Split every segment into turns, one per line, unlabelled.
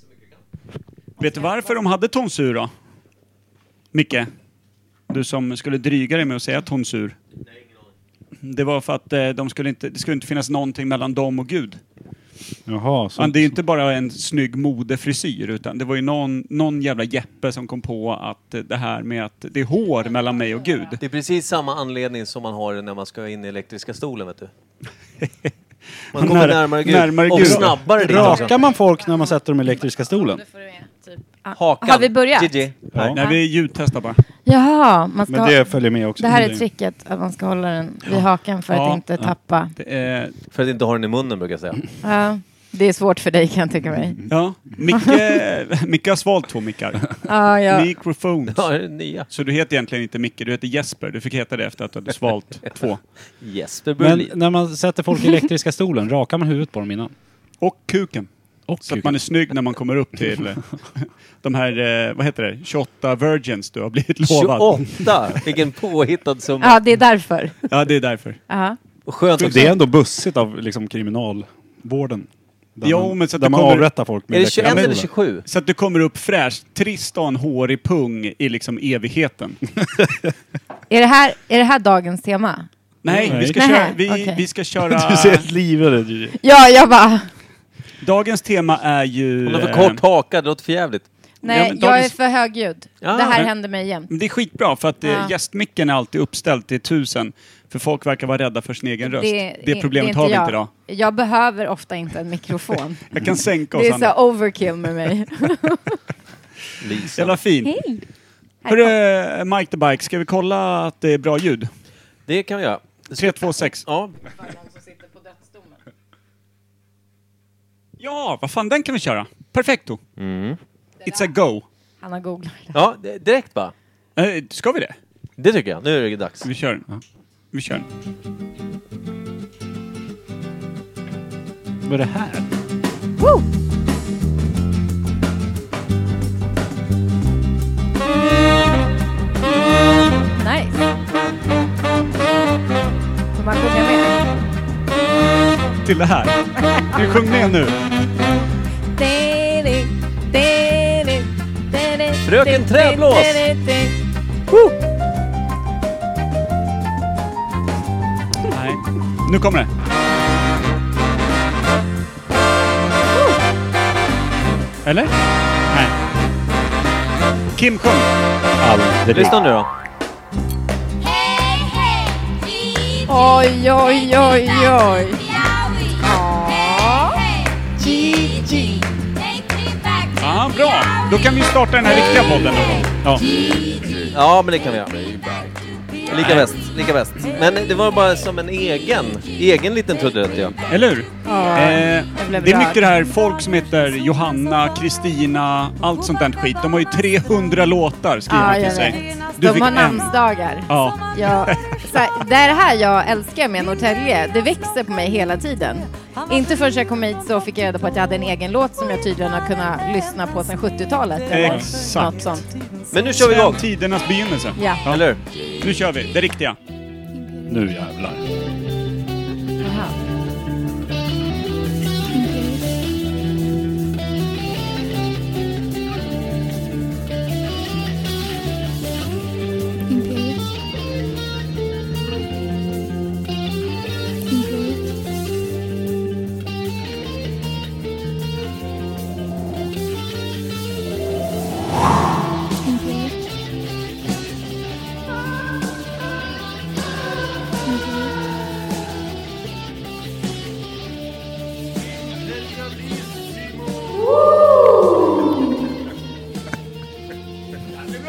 så mycket du kan.
Vet du varför de hade tonsur då? Micke? Du som skulle dryga dig med att säga tonsur.
Nej, ingen aning.
Det var för att eh, de skulle inte, det skulle inte finnas någonting mellan dem och Gud.
Jaha, så
Men det är ju inte bara en snygg modefrisyr utan det var ju någon, någon jävla Jeppe som kom på att eh, det här med att det är hår mellan mig och Gud.
Det är precis samma anledning som man har när man ska in i elektriska stolen, vet du. Man
Man
kommer
när-
närmare Gud.
närmare
och
Gud.
snabbare dit också.
Rakar man folk när man sätter dem i elektriska stolen?
Då får du med, typ. Ah,
Hakan.
Har vi börjat?
Gigi.
Nej, nej, vi ljudtestar bara.
Jaha, man ska
Men det följer med också.
Det här är tricket, att man ska hålla den vid hakan för
Mm. Ja,
att inte
ja.
tappa.
Det är,
För att inte ha den i munnen, brukar jag säga.
Ja, det är svårt för dig kan jag tycka mig.
ja, Micke, Micke har svalt två mickar.
Ja, ja.
Microphones.
Ja, det är den nya.
Så du heter egentligen inte Micke, du heter Jesper. Du fick heta det efter att du hade svalt två.
Jesper
Men
Berlin.
när man sätter folk i elektriska stolen, rakar man huvudet på dem innan?
Och kuken.
Och
Så att man är snygg när man kommer upp till eh, de här, eh, vad heter det, 28 virgins du har blivit lovad.
28! Vilken påhittad summa.
ja, det är därför.
Ja, det är därför.
Ja.
Skönt också.
Det är ändå bussigt av liksom, kriminalvården. Där
Jo,
man,
men så att
där
det
man
kommer-
avrättar folk med
Är det 21
elektriska
eller
stolen.
27?
Så att du kommer upp fräsch, trist och en hårig pung i liksom evigheten.
Är, det här, är det här dagens tema?
Nej, vi ska
Nej.
köra... Vi,
Okej.
vi ska köra
Du ser helt livrädd ut. Gigi.
Ja, jag bara...
dagens tema är ju...
Hon har för
eh,
kort haka, det låter för jävligt.
Nej,
men
jag är
dagens-
för högljudd.
Ja,
det här
men-
händer mig jämt.
men det är skitbra för att eh,
Ja.
gästmicken är alltid uppställd till tusen. För folk verkar vara rädda för sin egen röst. Det, problemet
inte
har vi
jag.
inte idag.
Jag behöver ofta inte en mikrofon.
Jag kan sänka oss
det är
andra.
så overkill med mig.
Jävla fin.
Hej!
Hörru, eh, Mike the Bike, ska vi kolla att det är bra ljud?
Det kan vi göra. Det
3,
ska-
2, 6.
Ja,
Ja, vad fan, den kan vi köra. Perfecto. It's a go.
Han har googlat.
ja det- direkt bara.
Eh, ska vi det?
Det tycker jag. Nu är det dags.
Vi kör. Vi kör.
Vad är det här?
Woo! Nice. Får man sjunga med?
Till det här. Du sjung med nu.
Fröken Träblås!
Woo!
Nej. Nu kommer det. Eller? Nej. Kim sjung.
Aldrig.
Lyssna nu då.
Oj, oj, oj, oj.
Ja, bra. Då kan vi starta den här riktiga podden någon gång. Ja.
Ja, men det kan vi göra. Lika bäst, lika bäst. Men det var bara som en egen, egen liten trudelutt ja.
Eller hur?
Ja,
Eh,
jag blev
det är
rörd.
mycket det här folk som heter Johanna, Kristina, allt sånt där skit. De har ju 300 låtar skrivna
Ja,
till
jag
sig.
vet.
Du
De
fick
har
en.
namnsdagar.
Ja.
Jag, så här, det är det här jag älskar med Norrtälje. Det växer på mig hela tiden. Inte förrän jag kom hit så fick jag reda på att jag hade en egen låt som jag tydligen har kunnat lyssna på sedan 70-talet. eller
Exakt.
Något sånt.
Men nu kör vi
Sedan
igång,
tidernas begynnelse.
Ja.
eller hur?
Nu kör vi, det riktiga.
Nu jävlar.
Aha.
skulle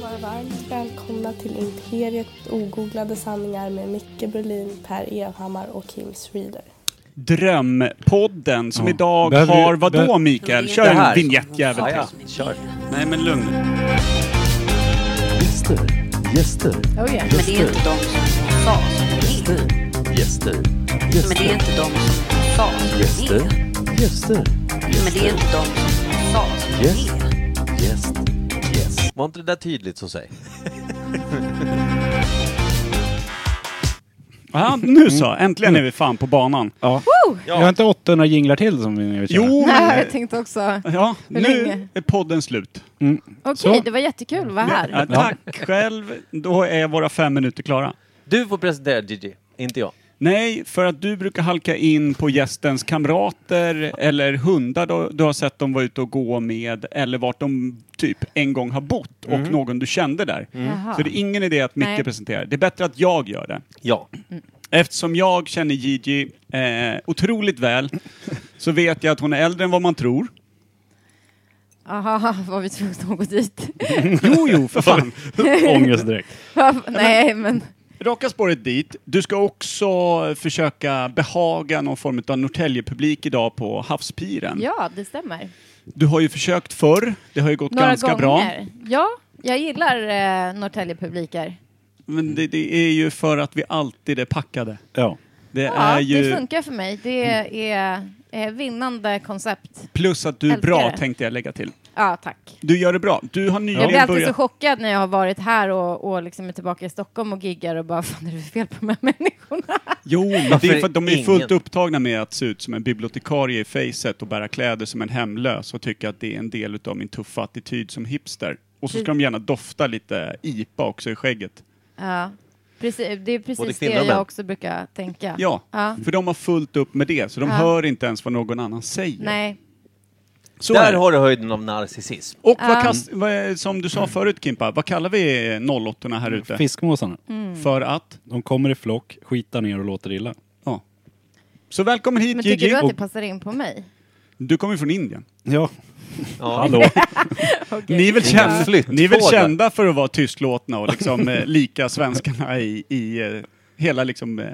vara varmt välkomna till Imperiet ogooglade sanningar med Micke Berlin, Per Evhammar och Kim Reader.
Drömpodden som
Ja.
idag
Behöver-
har vadå
behöver-
Mikael? Kör
Det här.
en vignettjävel
Ja,
till.
ja. Kör.
Nej men lugn.
Gäster, gäster,
Oh yeah.
Men det är inte de som sa som det är.
gäster, gäster,
Men det är
gäster,
inte de som sa som det
gäster,
är.
gäster,
Men det är inte de som sa som det är.
gäst, gäst.
Var inte det där tydligt så säg?
Aha, nu så, äntligen är vi fan på banan.
Ja.
Ja.
Jag har inte 800 jinglar till som vi vill köra.
Jo,
Nej,
men,
jag tänkte också.
ja, nu
Hur länge?
är podden slut.
Mm.
Okej,
Så.
det var jättekul att vara
Ja,
här.
tack själv, då är våra fem minuter klara.
Du får presentera Gigi, inte jag.
Nej, för att du brukar halka in på gästens kamrater eller hundar då, du har sett dem vara ute och gå med eller vart de typ en gång har bott och någon du kände där.
Mm. Jaha.
Så det är ingen idé att Micke
Nej.
presenterar. Det är bättre att jag gör det.
Ja.
Eftersom jag känner Gigi eh, otroligt väl så vet jag att hon är äldre än vad man tror.
Aha, var vi tvungna att gå dit?
Jo, jo, för fan.
Ångest direkt.
Nej, men
Raka spåret dit. Du ska också försöka behaga någon form av Norrtälje-publik idag på Havspiren.
ja, det stämmer.
Du har ju försökt förr. Det har ju gått
Några
ganska bra.
gånger. Ja, jag gillar eh, Norrtälje-publiker.
Mm.
Men det, det är ju för att vi alltid är packade.
Ja.
Det
Ja,
är ju... Mm.
det funkar för mig. Det är eh, vinnande koncept.
plus att du är
Älskar
bra,
det.
tänkte jag lägga till.
Ja, tack.
Du gör det bra. Du har
Jag
nyligen
blir alltid så
börjat...
chockad när jag har varit här och, och liksom är tillbaka i Stockholm och giggar och bara, fan är det fel på de här människorna?
Jo, men det
Varför
är för att de är
ingen?
fullt upptagna med att se ut som en bibliotekarie i facet och bära kläder som en hemlös och tycka att det är en del av min tuffa attityd som hipster. Och så ska de gärna dofta lite IPA också i skägget.
Ja, precis, det
Både
är precis det
kvinnor och män.
jag också brukar tänka.
Ja,
Ja.
för de har fullt upp med det, så de
Ja.
hör inte ens vad någon annan säger.
Nej,
Så är
Där
det.
har du höjden av narcissism.
Och vad kast, vad, är- som du
Mm.
sa förut Kimpa, vad kallar vi 08 här ute?
Fiskmåsarna.
Mm.
För att?
De kommer i flock, skitar ner och låter illa.
Ja. Så välkommen hit
men tycker
Gigi.
du att
Och
det passar in på mig?
du kommer ju från Indien.
Ja.
Ja.
Hallå.
Ni är väl,
Inga
kända, ni är väl
flyttfåglar.
kända för att vara tystlåtna och liksom eh, lika svenskarna i, i eh, hela liksom, eh,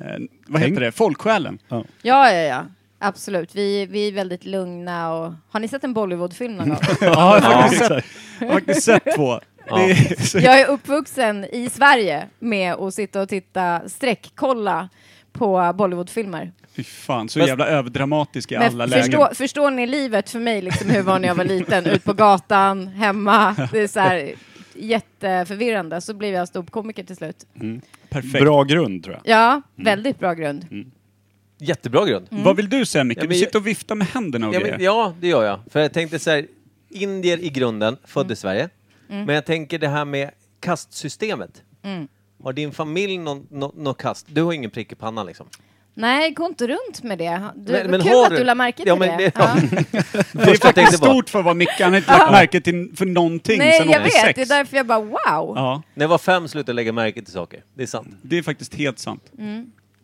vad heter
Tänk.
det, folksjälen.
Ja, ja, ja. Absolut. Vi, vi är väldigt lugna och... Har ni sett en Bollywoodfilm någon gång?
Ja, jag har faktiskt sett, jag har faktiskt sett två. Det är, så,
Jag är uppvuxen i Sverige med att sitta och titta, sträckkolla på Bollywoodfilmer.
fy fan, så
Fast-
jävla överdramatisk i alla
Men
lägen.
förstå, förstår ni livet för mig, liksom hur var när jag var liten, ut på gatan, hemma, det är så här jätteförvirrande. Så blev jag ståuppkomiker till slut.
Perfekt.
Bra grund tror jag.
Mm.
Ja, väldigt bra grund.
Jättebra grund.
Vad vill du säga Micke?
Ja, men
Du
jag-
sitter och viftar med händerna och
Ja,
grejer.
men, ja, det gör jag. För jag tänkte så här, indier i grunden, född
Mm.
i Sverige. Men jag tänker det här med kastsystemet.
Mm.
Har din familj något nå nå kast? Du har ingen prick i pannan liksom.
Nej, gå inte runt med det. Du,
Men-
men,
men
kul
har
att
du-
du lade märke till
Ja, men
det.
det- ja.
Det är
Första jag
faktiskt
tänkte var-
stort för vad Micke, han har inte lagt märke till för någonting
Nej,
sedan
jag
86.
vet. Det är därför jag bara wow.
Ja,
När jag var fem slutade jag lägga märke till saker. Det är sant.
det är faktiskt helt sant.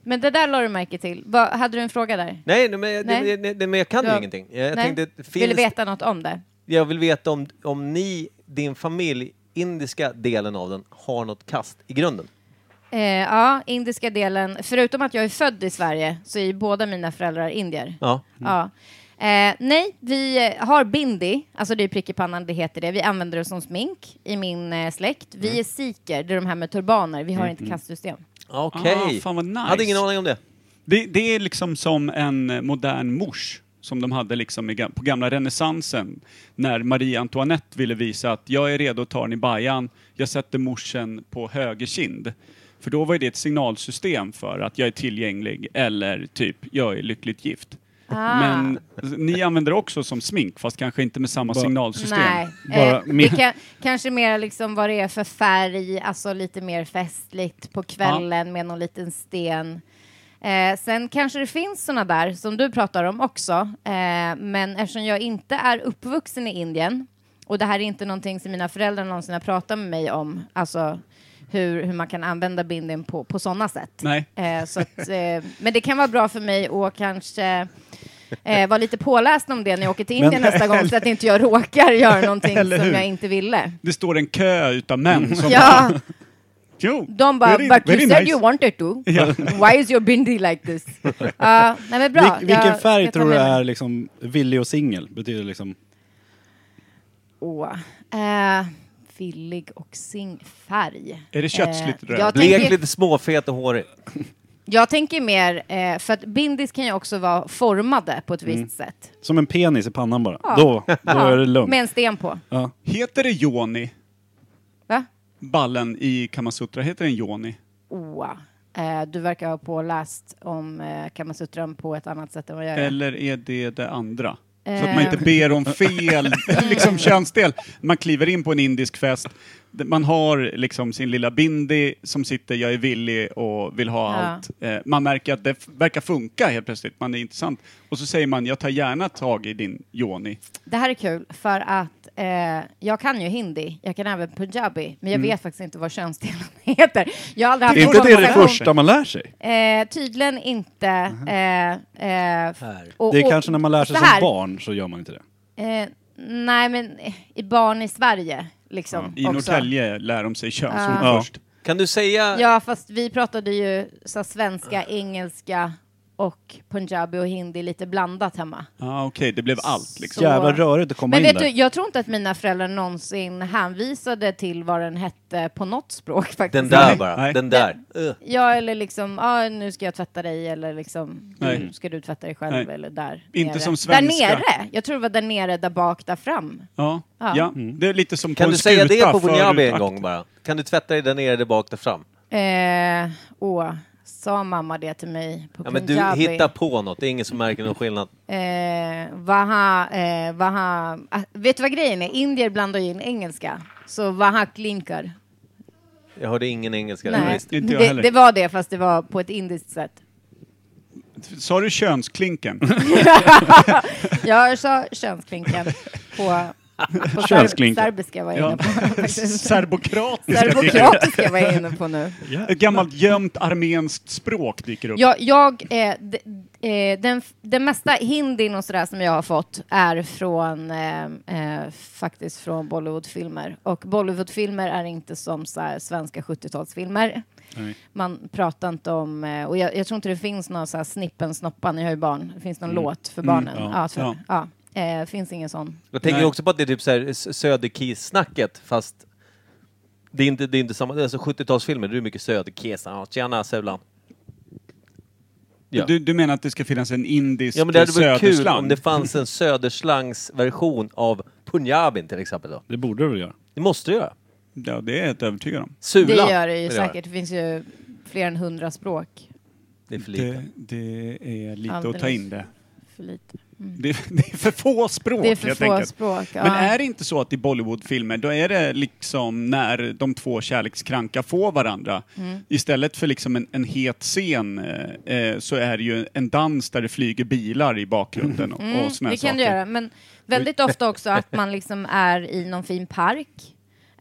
Men det där lade du märke till. Vad- hade du en fråga där?
Nej, nej, men, jag-
Nej.
Det, det, det, men jag kan ju
Ja.
ingenting. Jag, jag
Nej?
tänkte,
Vill du
finns,
veta något om det?
jag vill veta om, om ni, din familj, indiska delen av den, har något kast i grunden.
Eh, ja, indiska delen. Förutom att jag är född i Sverige så är ju båda mina föräldrar indier.
Ja.
Ja. Eh, nej, vi eh, har bindi, alltså det är prick i pannan, det heter det. Vi använder det som smink i min eh, släkt. Vi är sikher, det är de här med turbaner. Vi har inte kastsystem.
Okej.
Ah, fan vad nice.
Hade ingen aning om det.
Det, det är liksom som en modern mors som de hade liksom i, ga- på gamla renässansen när Marie Antoinette ville visa att jag är redo att ta den i bajan, jag sätter morsen på höger kind. För då var ju det ett signalsystem för att jag är tillgänglig eller typ jag är lyckligt gift.
Ah.
Men ni använder det också som smink fast kanske inte med samma
Bara-
signalsystem.
Nej,
Bara
eh,
min-
det kan, kanske mer liksom vad det är för färg, alltså lite mer festligt på kvällen med någon liten sten. Eh, sen kanske det finns såna där som du pratar om också, eh, men eftersom jag inte är uppvuxen i Indien och det här är inte någonting som mina föräldrar någonsin har pratat med mig om, alltså hur, hur man kan använda bindin på, på sådana sätt.
Nej.
Eh, så att, eh, men det kan vara bra för mig att kanske eh, vara lite påläst om det när jag åker till Indien nästa gång så att inte jag råkar göra någonting som
Eller hur?
jag inte ville.
Det står en kö utav män som
Ja,
Jo,
de
very-
bara, but you
very
said
nice."
you wanted to.
Ja.
Why is your bindi like this? Ja, nej men bra.
Vil- vilken
Jag
färg
ska ta
tror du
med mig.
är liksom villig och singel? Betyder liksom...
Åh, eh, villig och sing färg.
Är det köttsligt
Eh,
röd?
jag
Blek,
tänker-
lite småfet och hårig.
Jag tänker mer, eh, för att bindis kan ju också vara formade på ett visst sätt.
Som en penis i pannan bara. Då, Mm. då är det lugnt.
Med en sten på.
Ja.
Heter det Joni?
Va?
ballen i Kamasutra, heter den Joni?
Åh. Eh, du verkar ha påläst om eh, Kamasutran på ett annat sätt än vad jag gör. Eh,
Eller är det det andra? Så att man inte ber om fel liksom könsdel. Man kliver in på en indisk fest, man har liksom sin lilla bindi som sitter, jag är villig och vill ha
Ja.
allt. Eh, Man märker att det f- verkar funka helt plötsligt, man är intressant. Och så säger man, jag tar gärna tag i din yoni.
Det här är kul för att eh, jag kan ju hindi, jag kan även punjabi, men jag vet faktiskt inte vad könsdelen heter. Jag har aldrig haft
Är
en
Mm. inte det det
konversation-
första man lär sig?
Eh, tydligen inte. Eh, eh,
Här.
och-
Det är
och-
kanske när man lär sig
så
som
här.
barn så gör man inte det.
Eh, nej, men eh, i barn i Sverige liksom.
I
också.
Norrtälje lär de sig könsord
Ja.
först.
Kan du säga...
Ja, fast vi pratade ju så här, svenska, engelska och punjabi och hindi lite blandat hemma.
Ah, Okej, det blev allt liksom.
Så-
Jävla rörigt att komma
Men
in
vet
där.
du, jag tror inte att mina föräldrar någonsin hänvisade till vad den hette på något språk faktiskt.
Den där
Nej,
bara.
nej.
Den där. Ugh.
Ja, eller liksom, ah, nu ska jag tvätta dig, eller liksom,
Nej.
nu ska du tvätta dig själv,
Nej.
eller där
Inte
nere.
som svenska.
Där nere! Jag tror det var där nere, där bak, där fram.
Ja,
Ja.
ja.
Mm.
det är lite som på
Kan
en
du säga det
skuta
på punjabi en
förut-
gång bara? Kan du tvätta dig där nere, där bak, där fram?
Eh, åh, sa mamma det till mig på
Ja, men du
punjabi?
hittar på något. Det är ingen som märker någon skillnad.
Eh, vaha, eh, vaha, ah, vet du vad grejen är? Indier blandar ju in engelska. Så vaha klinkar.
Jag hörde ingen engelska.
Nej,
Visst.
inte jag
det,
heller.
det var det, fast det var på ett indiskt sätt.
Sa du könsklinken?
Jag sa könsklinken på, på
Könsklinken.
serbiska var jag
Ja.
inne på. faktiskt.
Serbokratiska klinken.
Serbokratiska var jag inne på nu.
Ett gammalt gömt armenskt språk dyker upp.
Jag, jag, eh, d, eh, den, f- den mesta hindin och sådär som jag har fått är från eh, eh, faktiskt från Bollywoodfilmer. Och Bollywoodfilmer är inte som så här, svenska 70-talsfilmer.
Nej.
Man pratar inte om, eh, och jag, jag tror inte det finns någon så här snippen, snoppan, jag har ju barn. Det finns någon låt för barnen.
ja,
ja, så,
Mm. ja.
ja. Eh, finns ingen sån.
Jag tänker
Nej.
också på att det är typ så här s- Söderkis-snacket fast det är inte, det är inte samma. Alltså 70-talsfilmer, det är mycket Söderkis. Ja, tjena Sula. Ja.
Du, du menar att det ska finnas en indisk
Ja men det hade varit kul
söderslang?
om det fanns en Söderslangsversion av punjabin till exempel då.
Det borde du väl göra?
Det måste du göra.
Ja, det är jag helt övertygad om.
Sula.
Det gör det ju
vill jag
säkert. Det finns ju fler än hundra språk.
Det är för lite.
Det, det är lite att
Alldeles.
ta in det.
För lite.
Det, det är för få språk
Det är för
helt
få
enkelt.
språk. Ja.
Men är det inte så att i Bollywoodfilmer, då är det liksom när de två kärlekskranka får varandra.
Mm.
Istället för liksom en, en het scen eh, eh, så är det ju en dans där det flyger bilar i bakgrunden och, och såna här
Mm. det kan
saker.
du göra, men väldigt ofta också att man liksom är i någon fin park.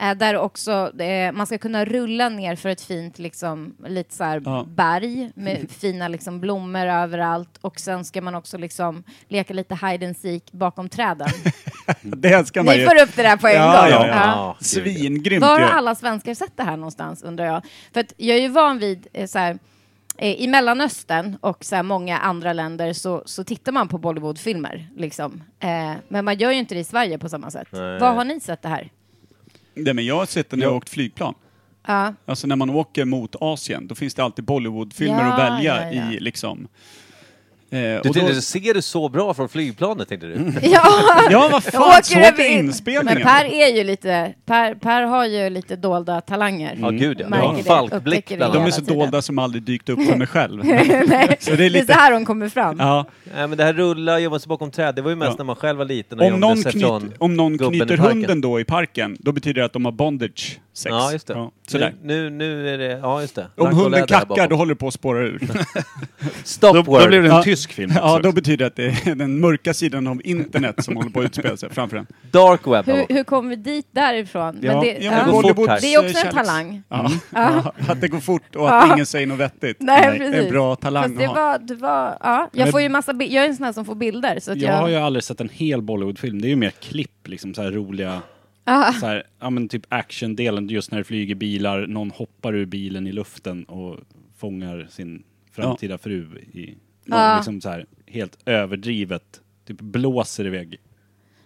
eh, Där också eh, man ska kunna rulla ner för ett fint liksom, lite så här
Ja.
berg med fina liksom, blommor överallt och sen ska man också liksom, leka lite hide and seek bakom träden.
Det ska man
Ni
ju.
får upp det där på en
Ja,
gång.
ja, ja.
Ja.
Ja, gud, ja.
Svingrymt
Var har
ju.
alla svenskar sett det här någonstans undrar jag? För att jag är ju van vid eh, så här, eh, i Mellanöstern och så här, många andra länder så, så tittar man på Bollywoodfilmer. Liksom. Eh, men man gör ju inte det i Sverige på samma sätt.
Nej.
Var har ni sett det här?
Nej, men jag har sett det när jag har åkt flygplan.
Ja.
Alltså när man åker mot Asien, då finns det alltid Bollywoodfilmer
Ja,
att välja
ja, ja.
i liksom. Eh,
Du
och då, Mm.
tänkte, ser du så bra från flygplanet tänkte du?
Ja,
ja, vad
jag
fan, såg
över
du
in-
inspelningen?
Men Per är ju lite, Per, per har ju lite dolda talanger.
Mm.
Ja, gud ja.
Märker
ja.
det,
Falkblick
upptäcker det
bland
De
annat.
är
hela
så
tiden.
dolda som aldrig dykt upp för mig själv. så det är
Det är så
lite...
här hon kommer fram.
Ja,
Nej men det här rulla, gömma sig bakom träd, det var ju mest
Ja.
när man själv var liten och
om
gömde
någon,
sig från
knyt, om någon
gubben i
knyter
parken.
hunden då i parken, då betyder det att de har bondage sex.
Ja, just det.
sådär.
nu, nu, nu är det... Ja, just det.
Om
Blanco
hunden
Led där
kackar, då
bakom.
håller det på att spåra ur.
Stop
Då,
word.
då blev det en
Ja.
tysk film.
ja,
också.
då betyder det att det är den mörka sidan av internet som håller på att utspela sig framför en.
Dark web.
Hur, hur kom vi dit därifrån?
Ja,
det,
ja, men
det går
Bolleboots,
fort här. Mm.
Det är också en
eh, kärleks-
talang.
Ja. Att det går fort och att
Ja.
ingen säger något vettigt.
Nej,
Det är
precis.
en eh, bra talang
Fast det
att ha.
var, det var, ja. Jag
Men-
får ju massa bi- jag är en sån här som får bilder. Så att
Jag har
jag,
ju aldrig sett en hel Bollywoodfilm. Det är ju mer klipp, liksom så här roliga,
Ah.
så här, ja men typ actiondelen, just när det flyger bilar, någon hoppar ur bilen i luften och fångar sin framtida fru i,
Ja.
liksom så här, helt överdrivet, typ blåser iväg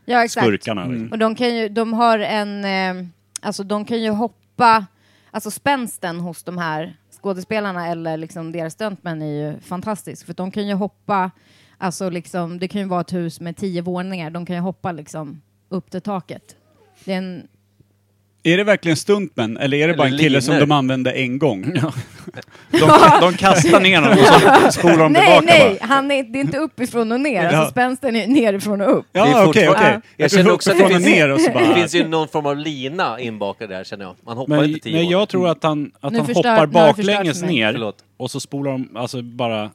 ja, exakt.
skurkarna. Liksom.
Och de kan ju, de har en, eh, alltså de kan ju hoppa, alltså spänsten hos de här skådespelarna eller liksom deras stuntmän är ju fantastisk. För de kan ju hoppa, alltså liksom, det kan ju vara ett hus med tio våningar, de kan ju hoppa liksom upp till taket. Det är en,
Är det verkligen stuntmen eller är det bara en
Eller
kille som
linor. Mm.
de använde en gång?
De, de kastar ner dem och så spolar de
Nej,
tillbaka
nej, han är, det är inte uppifrån och ner. Alltså spänsten är nerifrån och upp.
Det
Ja,
är
okej,
fortfarande-
okej.
Jag känner också att det
Uppifrån och
finns,
ner och så bara...
det finns ju någon form av lina inbakad där känner jag. Man hoppar
Men
inte tio
nej,
år.
jag tror att han, att
Nu
han
förstör-
hoppar
nu har du förstört
baklänges
för mig.
ner
Förlåt.
och så spolar de, alltså bara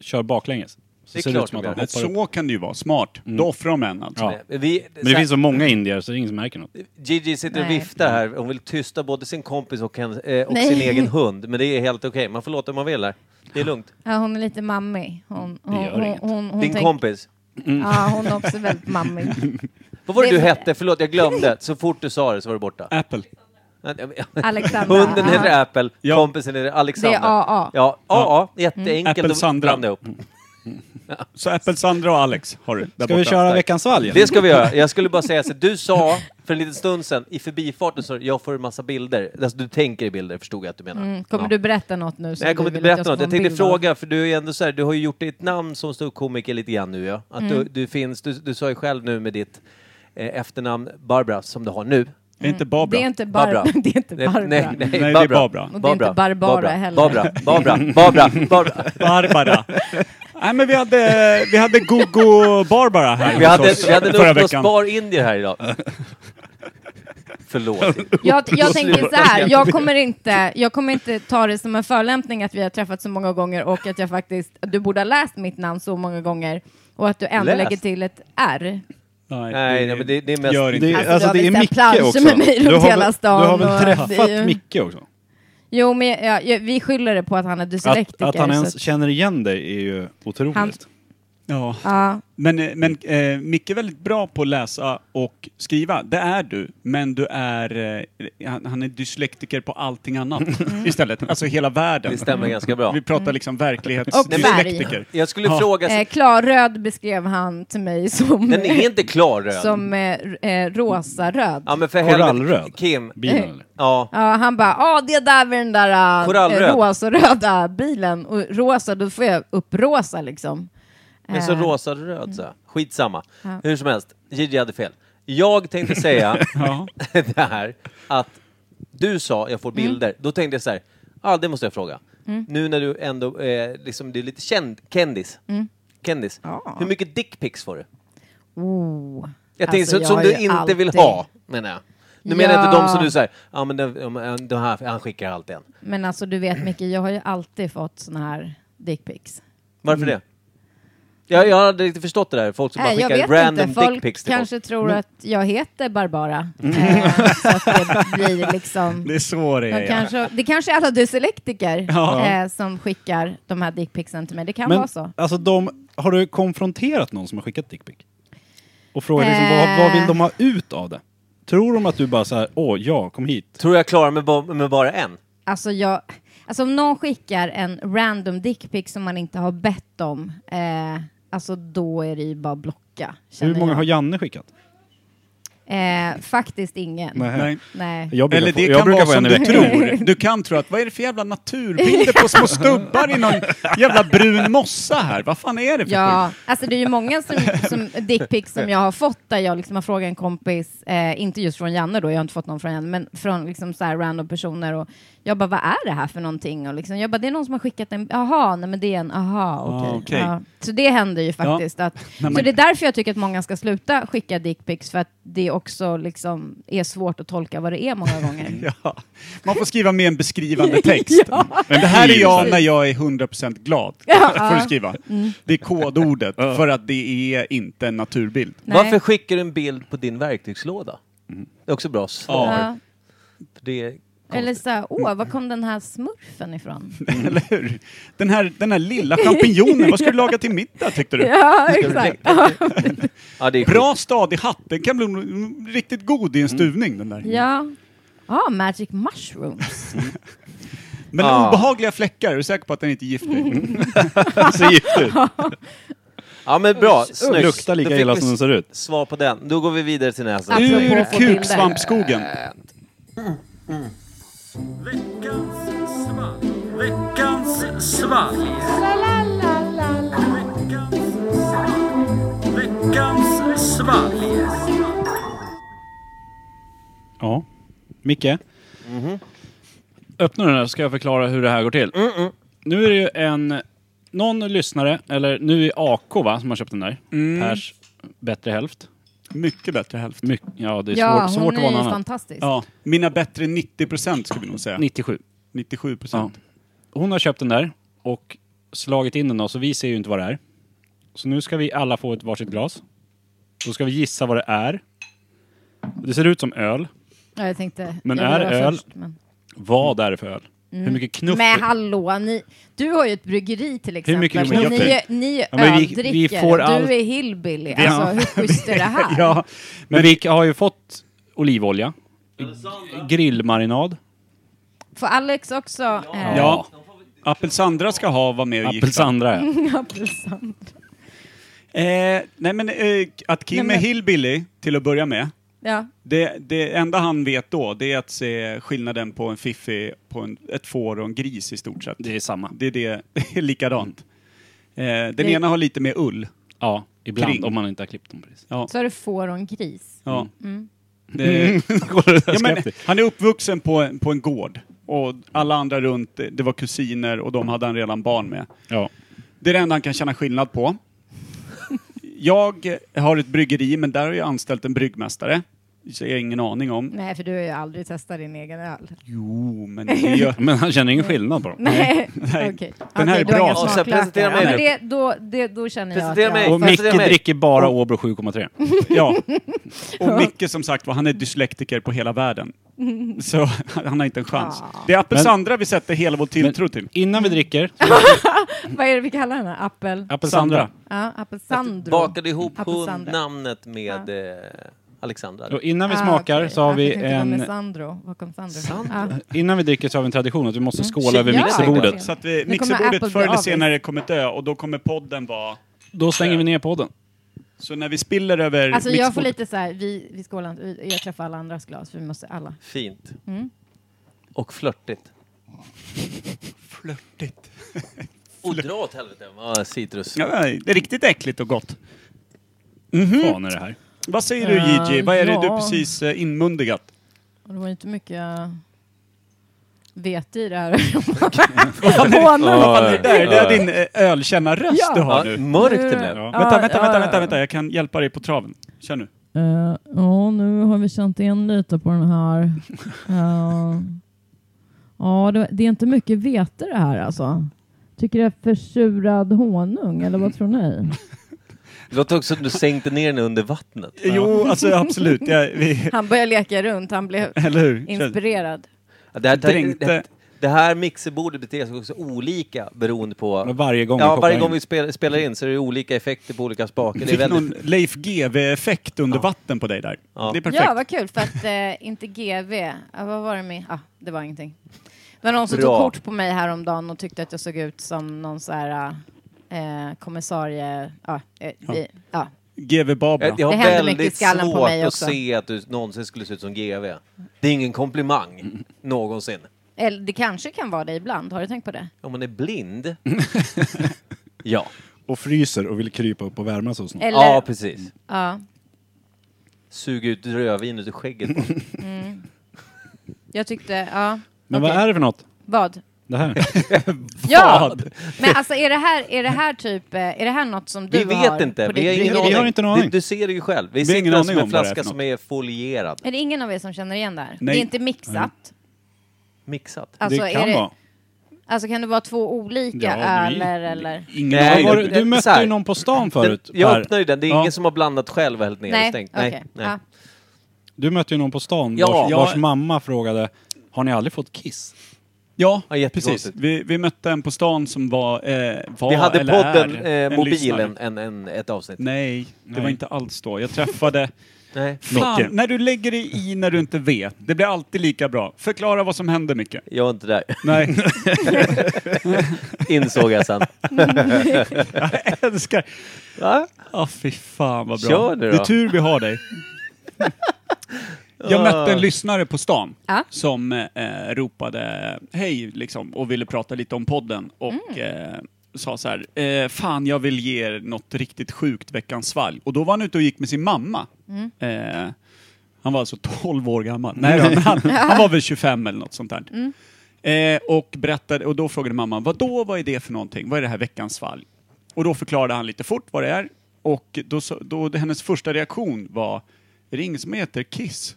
kör baklänges. Så
Det är
ser det
klart
ut som att
de
han
gör.
Nej,
hoppar upp.
så kan det ju vara. Smart.
Mm.
Då offrar de en alltså.
Ja.
Vi,
Men det finns så många indier så det är ingen som märker något.
Gigi sitter och
Nej.
viftar här. Hon vill tysta både sin kompis och, hen- eh, och
Nej.
sin egen hund. Men det är helt okej. Man får låta hur man vill där. Det är lugnt.
Ja, hon är lite mammig. Hon, hon,
gör
hon, hon,
inget.
hon,
Din
tänk-
kompis.
Ja, hon är också väldigt mammig.
Vad var det
Det-
du hette? Förlåt, jag glömde. Så fort du sa det så var du borta.
Apple.
Alexandra.
Hunden heter
aha.
Apple,
Ja.
kompisen heter Alexander.
Det är AA.
Ja, AA. Jätteenkelt
Apple
att
Sandra.
blanda ihop.
Så Apple, Sandra och Alex har du där
Ska vi
borta.
köra veckans valg?
Det ska vi göra. Jag skulle bara säga så du sa för en liten stund sedan i förbifarten så jag får en massa bilder. Alltså du tänker i bilder förstod jag att du menar.
Mm, kommer
Ja.
du berätta något nu? som
Nej, jag kommer
du
inte
vill att
berätta
ska
något.
få
Jag
en
tänkte
bild av?
fråga, för du är ändå så här, du har ju gjort ditt namn som ståuppkomiker lite grann nu ja. Att
Mm.
du, du finns, du, du sa ju själv nu med ditt eh, efternamn Barbara som du har nu.
Är inte Barbara?
Det är inte Barbara.
Barbara.
Det är inte
Nej,
Barbara.
nej, nej,
Nej, det är Barbara.
Och det är inte Barbara heller.
Barbara, Barbara, Barbara, Barbara.
Barbara. Nej men vi hade, vi hade Gogo Barbara här
Vi
hos
hade,
oss
vi hade
förra
en
veckan.
uppblåsbar indier här idag. Förlåt.
Jag, jag tänker så här, jag kommer, inte, jag kommer inte ta det som en förolämpning att vi har träffats så många gånger och att jag faktiskt, du borde ha läst mitt namn så många gånger och att du ändå
Läst?
lägger till ett R.
Nej, nej, men det- det är mest-
Gör inte.
Det,
Alltså,
alltså,
du har
det är
väl sett
Micke
planscher
också.
med mig
du,
runt
har
hela
väl,
stan
du har väl
och-
träffat
det är ju-
Micke också?
Jo, men jag, jag, jag, vi skyller det på att han är
Att,
dyslektiker.
att han
så
ens
att-
känner igen dig är ju otroligt.
Han-
Ja.
ja.
Men, eh, men eh, Micke är väldigt bra på att läsa och skriva. Det är du, men du är... Eh, han, han är dyslektiker på allting annat istället. Alltså hela världen.
Det stämmer ganska bra.
Vi pratar liksom
Och färg.
verklighetsdyslektiker.
Jag skulle
Ja.
fråga,
Eh, klarröd beskrev han till mig som,
Alltså- den är inte klar röd.
som eh, r- eh, rosa-röd.
ja, men för helvete.
Korallröd.
Kim.
Bilen
Eh,
eller?
Ja.
Ja, han bara, ja det där var den där äh,
Korallröd.
rosa-röda bilen. Och rosa, då får jag upp rosa liksom.
Men så
Eh,
rosa och röd så. här. Skitsamma.
Ja.
Hur som helst, Gigi hade fel. Jag tänkte säga
Ja.
det här att du sa jag får
Mm.
bilder. Då tänkte jag så här, ah, det måste jag fråga. Nu när du ändå eh, liksom, du är lite känd, kändis. kändis.
Mm. Ja.
Hur mycket dickpics får du?
Oh.
Jag tänkte
Alltså,
så, som
har
du
ju
inte vill
alltid-
ha, menar jag. Nu menar jag inte
Ja.
de som du säger, ja ah, men den, ja, men den här, han skickar alltid en.
Men alltså du vet Micke, jag har ju alltid fått såna här dickpics.
Varför
Mm.
det? Jag, jag har aldrig riktigt förstått det där, folk som
Nej,
bara
Eh, jag
skickar
vet
random
inte, folk
dickpics till
kanske tror att jag heter Barbara. Eh, så att det blir liksom...
Det är så det är,
De
ja.
kanske, det kanske är alla dyslektiker
Ja.
eh, som skickar de här dickpicsen till mig. Det kan
Men
vara så.
alltså de, har du konfronterat någon som har skickat dickpic? Och frågat
Eh.
liksom, vad, vad vill de ha ut av det? Tror de att du bara så här, åh ja, kom hit.
folk. Tror jag klarar mig ba- med bara en?
Alltså, jag, alltså om någon skickar en random dickpic som man inte har bett om, eh, alltså då är det ju bara blocka. känner
Hur många
jag.
har Janne skickat?
Eh, faktiskt ingen.
Nej.
Nej.
Jag brukar
Eller
få,
det
jag
kan
brukar
vara
få
som
en i
du
veckan.
tror. Du kan tro att vad är det för jävla naturbilder på små stubbar i någon jävla brun mossa här? Vad fan är det för skit?
Ja, alltså det är ju många som, som dickpics som jag har fått där jag liksom har frågat en kompis, eh, inte just från Janne då, jag har inte fått någon från Janne, men från liksom så här random personer och jag bara, vad är det här för någonting? Och liksom, jag bara, det är någon som har skickat en, aha, nej men det är en, aha, okej.
Ah, okej.
ja. Så det händer ju faktiskt. Att,
men-
Så det är därför jag tycker att många ska sluta skicka dickpics, för att det också liksom är svårt att tolka vad det är många gånger.
Mm. Ja. Man får skriva med en beskrivande text. Men det här är jag när jag är 100% glad. Får du skriva.
Mm.
Det är kodordet för att det är inte en naturbild.
Nej.
Varför skickar du en bild på din verktygslåda?
Mm.
Det är också bra svar.
Ja.
För Det är
Eller så här, åh, var kom den här smurfen ifrån?
Mm.
Eller hur? Den här, den här lilla champinjonen, vad ska du laga till middag tyckte du?
ja, exakt.
ja, det är skit.
Bra stadig hatt, den kan bli mm, riktigt god i en stuvning den där.
Mm.
Ja. Ah, magic mushrooms.
Men
Ah. Mm.
obehagliga fläckar, är du säker på att den inte är giftig?
Ser gift ut.
Ja men bra,
Det
snyggt.
Luktar
Då
lika
fick
illa
vi
som den ser ut.
Svar på den. Då går vi vidare till nästa.
Absolut. Apropå
Ur
att få bilder.
kuksvampskogen.
Ja. Micke. Öppna den här så ska jag förklara hur det här går till. Nu är det ju en... Någon lyssnare, eller nu är AK va, som har köpt den där. Pers bättre hälft.
Mycket bättre hälft.
Mycket, ja, det är
Ja,
svårt,
hon
svårt att vara någon
är ju
annan.
fantastisk.
Ja, mina bättre 90 procent skulle vi nog säga.
97.
97
Ja.
procent.
Hon har köpt den där och slagit in den då, så vi ser ju inte vad det är. Så nu ska vi alla få ett varsitt glas. Då ska vi gissa vad det är. Det ser ut som öl.
Ja, jag tänkte,
Men
jag
är
var
öl-
Först, men.
Vad är det för öl?
Mm.
Hur mycket knuff...
Men hallå, ni, du har ju ett bryggeri till exempel.
Hur mycket
och
knuff-
ni, ni
Ja, men vi- vi
öldricker,
får
du
allt-
är hillbilly. Alltså, hur schysst är det här?
ja, men vi har ju fått olivolja, grillmarinad,
Får Alex också eh,
Ja. Apelsandra ska ha vara med och gifta.
apelsandra. ja.
apelsin?
Eh, nej men eh, att Kim
Nej, men-
är hillbilly till att börja med.
Ja.
Det, det enda han vet då, det är att se skillnaden på en fiffi, på en, ett får och en gris i stort sett.
Det är samma.
Det är det, det är likadant. Eh, den
Mm. Det-
ena har lite mer ull.
Ja, ibland
Kring.
om man inte har klippt dem precis.
Så är det får och en gris.
Ja.
Mm.
Mm.
Det, ja, men, han är uppvuxen på, en- på en gård. Och alla andra runt, det var kusiner och de hade han redan barn med.
Ja.
Det är det enda han kan känna skillnad på. Jag har ett bryggeri, men där har jag anställt en bryggmästare. Så jag har ingen aning om.
Nej, för du har ju aldrig testat din egen öl.
Jo, men det gör...
Men han känner ingen skillnad på dem.
Nej, okej.
Den här
Okej,
är
du har
bra.
inga
Och sen
smaklökar.
presentera mig
ja, men
nu.
det, då, det, då känner jag att
Presentera mig.
jag...
Och Micke
Fast det är mig.
dricker bara Åbro 7,3.
Ja. Och Micke som sagt var, han är dyslektiker på hela världen. Så han har inte en chans. Det är Apelsandra vi sätter hela vår tilltro till.
Innan vi dricker,
Vad är det vi kallar den här? Appel...
apelsandra.
Ja, appelsandro.
Bakade ihop hon
Apelsandra.
namnet med eh, Alexandra.
Och innan vi
Ah,
smakar
okej.
så har
Jag
vi
tänkte vad
en...
Med Sandro. Var kom Sandro? ifrån?
Sandro?
Ah.
Innan vi dricker så har vi en tradition att vi måste skåla över
Mm. Ja.
mixerbordet.
Så att vi,
Nu kommer Apple
mixerbordet förr
bli
eller
avis.
senare kommer dö och då kommer podden vara...
Då stänger vi ner podden.
Så när vi spiller över
Alltså jag får
mixerbordet-
lite så här, vi, vi skålar inte, vi- jag träffar alla andras glas, för vi måste alla.
Fint.
Mm.
Och flörtigt.
flörtigt.
Och dra åt helvete vad citrus.
Ja, det är riktigt äckligt och gott. Mhm.
Fan är det här.
Vad säger du
Eh,
JJ? Vad är det du
ja.
precis eh, inmundigat?
Och det var ju inte mycket vete i det här. Månaden.
Fan, det där, det där är din eh, ölkännarröst
Ja. Mm.
du har
Ja,
nu.
mörkt det blev.
Ja.
Vänta,
Ja,
vänta,
ja,
vänta,
ja.
vänta, vänta, jag kan hjälpa dig på traven. Kör nu.
Eh, ja, nu har vi känt igen lite på den här. Eh, ja, det, det är inte mycket vete det här alltså. Tycker det är försurad honung, eller vad tror ni?
Det låter också som du sänkte ner den under vattnet.
Eh,
Jo, alltså absolut. Jag, vi,
Han började leka runt, han blev
eller hur? Kör.
inspirerad.
Ja, Det här,
Dränkte.
det, det här mixerbordet beter sig också olika beroende på...
Men varje gång vi
ja,
kopplar
varje
in.
gång vi spel, spelar in så är det olika effekter på olika spaker. Det är
Fick
väldigt...
någon Leif GW-effekt under vatten på dig där.
Ja.
Det är perfekt.
Ja, vad kul för att eh, inte GV, ja, vad var det med, ah, det var ingenting. Det var någon som
Bra.
tog kort på mig häromdagen och tyckte att jag såg ut som någon så här eh, kommissarie, ja, eh, vi- ja.
GW Barbara.
Jag, jag har
Det händer mycket
väldigt
i skallen på
svårt
mig
att
också.
se att du någonsin skulle se ut som GV. Det är ingen komplimang, någonsin.
Eller det kanske kan vara det ibland, har du tänkt på det?
Om man är blind... ja.
Och fryser och vill krypa upp och värma sig snart.
Eller,
ja, precis.
ja.
Sug ut rödvinet ur skägget.
Jag tyckte, ja.
Men
Okej. Alltså,
vad är det för något?
Vad?
Det här?
Ja! Men alltså är det här, är det här typ, eh, är det här något som du
Vi
har?
vet inte.
på
Vi
ditt-
har ingen
Vi
aning.
har inte en
Du-
aning.
Du ser det ju själv. Vi,
har ingen
sitter här som
aning
en
om vad det är
flaska
för
som är folierad.
Är det ingen av er som känner igen det här?
Nej.
Det är inte mixat?
Mixat.
Alltså,
det
är
kan
det,
vara.
Alltså kan det vara två olika
Ja, det är-
öler eller?
Ingen
Nej,
aning.
Var,
jag-
du- du
eh,
mötte
så här.
ju någon på stan förut,
Den, jag
Per.
öppnar ju den. Det är
Ja.
ingen som har blandat själv och hällt ner och stängt.
okej.
Nej, nej.
Ja.
Du mötte ju någon på stan
Ja.
vars,
Ja.
vars mamma frågade Har ni aldrig fått kiss?
Ja,
Ja,
precis.
jättekonstigt.
Vi, vi mötte en på stan som var, eh, var
Vi hade
eller är
podden,
en
eh, mobilen,
lyssnare.
en, en, ett avsnitt.
Nej, det
Nej.
var inte alls då. Jag träffade...
Nej.
Fan,
Micke.
när du lägger dig i när du inte vet, det blir alltid lika bra. Förklara vad som händer, Micke.
Jag var inte där,
Nej,
insåg jag sen.
jag älskar...
Va?
Ah, fy fan vad bra.
Kör nu då.
Det är tur vi har dig. Jag mötte en lyssnare på stan
Ja.
som eh, ropade hej liksom, och ville prata lite om podden och eh, sa så här, eh, fan jag vill ge er något riktigt sjukt veckans svalg. Och då var han ute och gick med sin mamma. Eh, Han var alltså 12 år gammal. Nej, då, men han, han var väl 25 eller något sånt där. Eh, och, berättade, och då frågade mamma, vad då vad är det för någonting? Vad är det här veckans fall? Och då förklarade han lite fort vad det är. Och då, sa- då, hennes första reaktion var, ring som heter Kiss.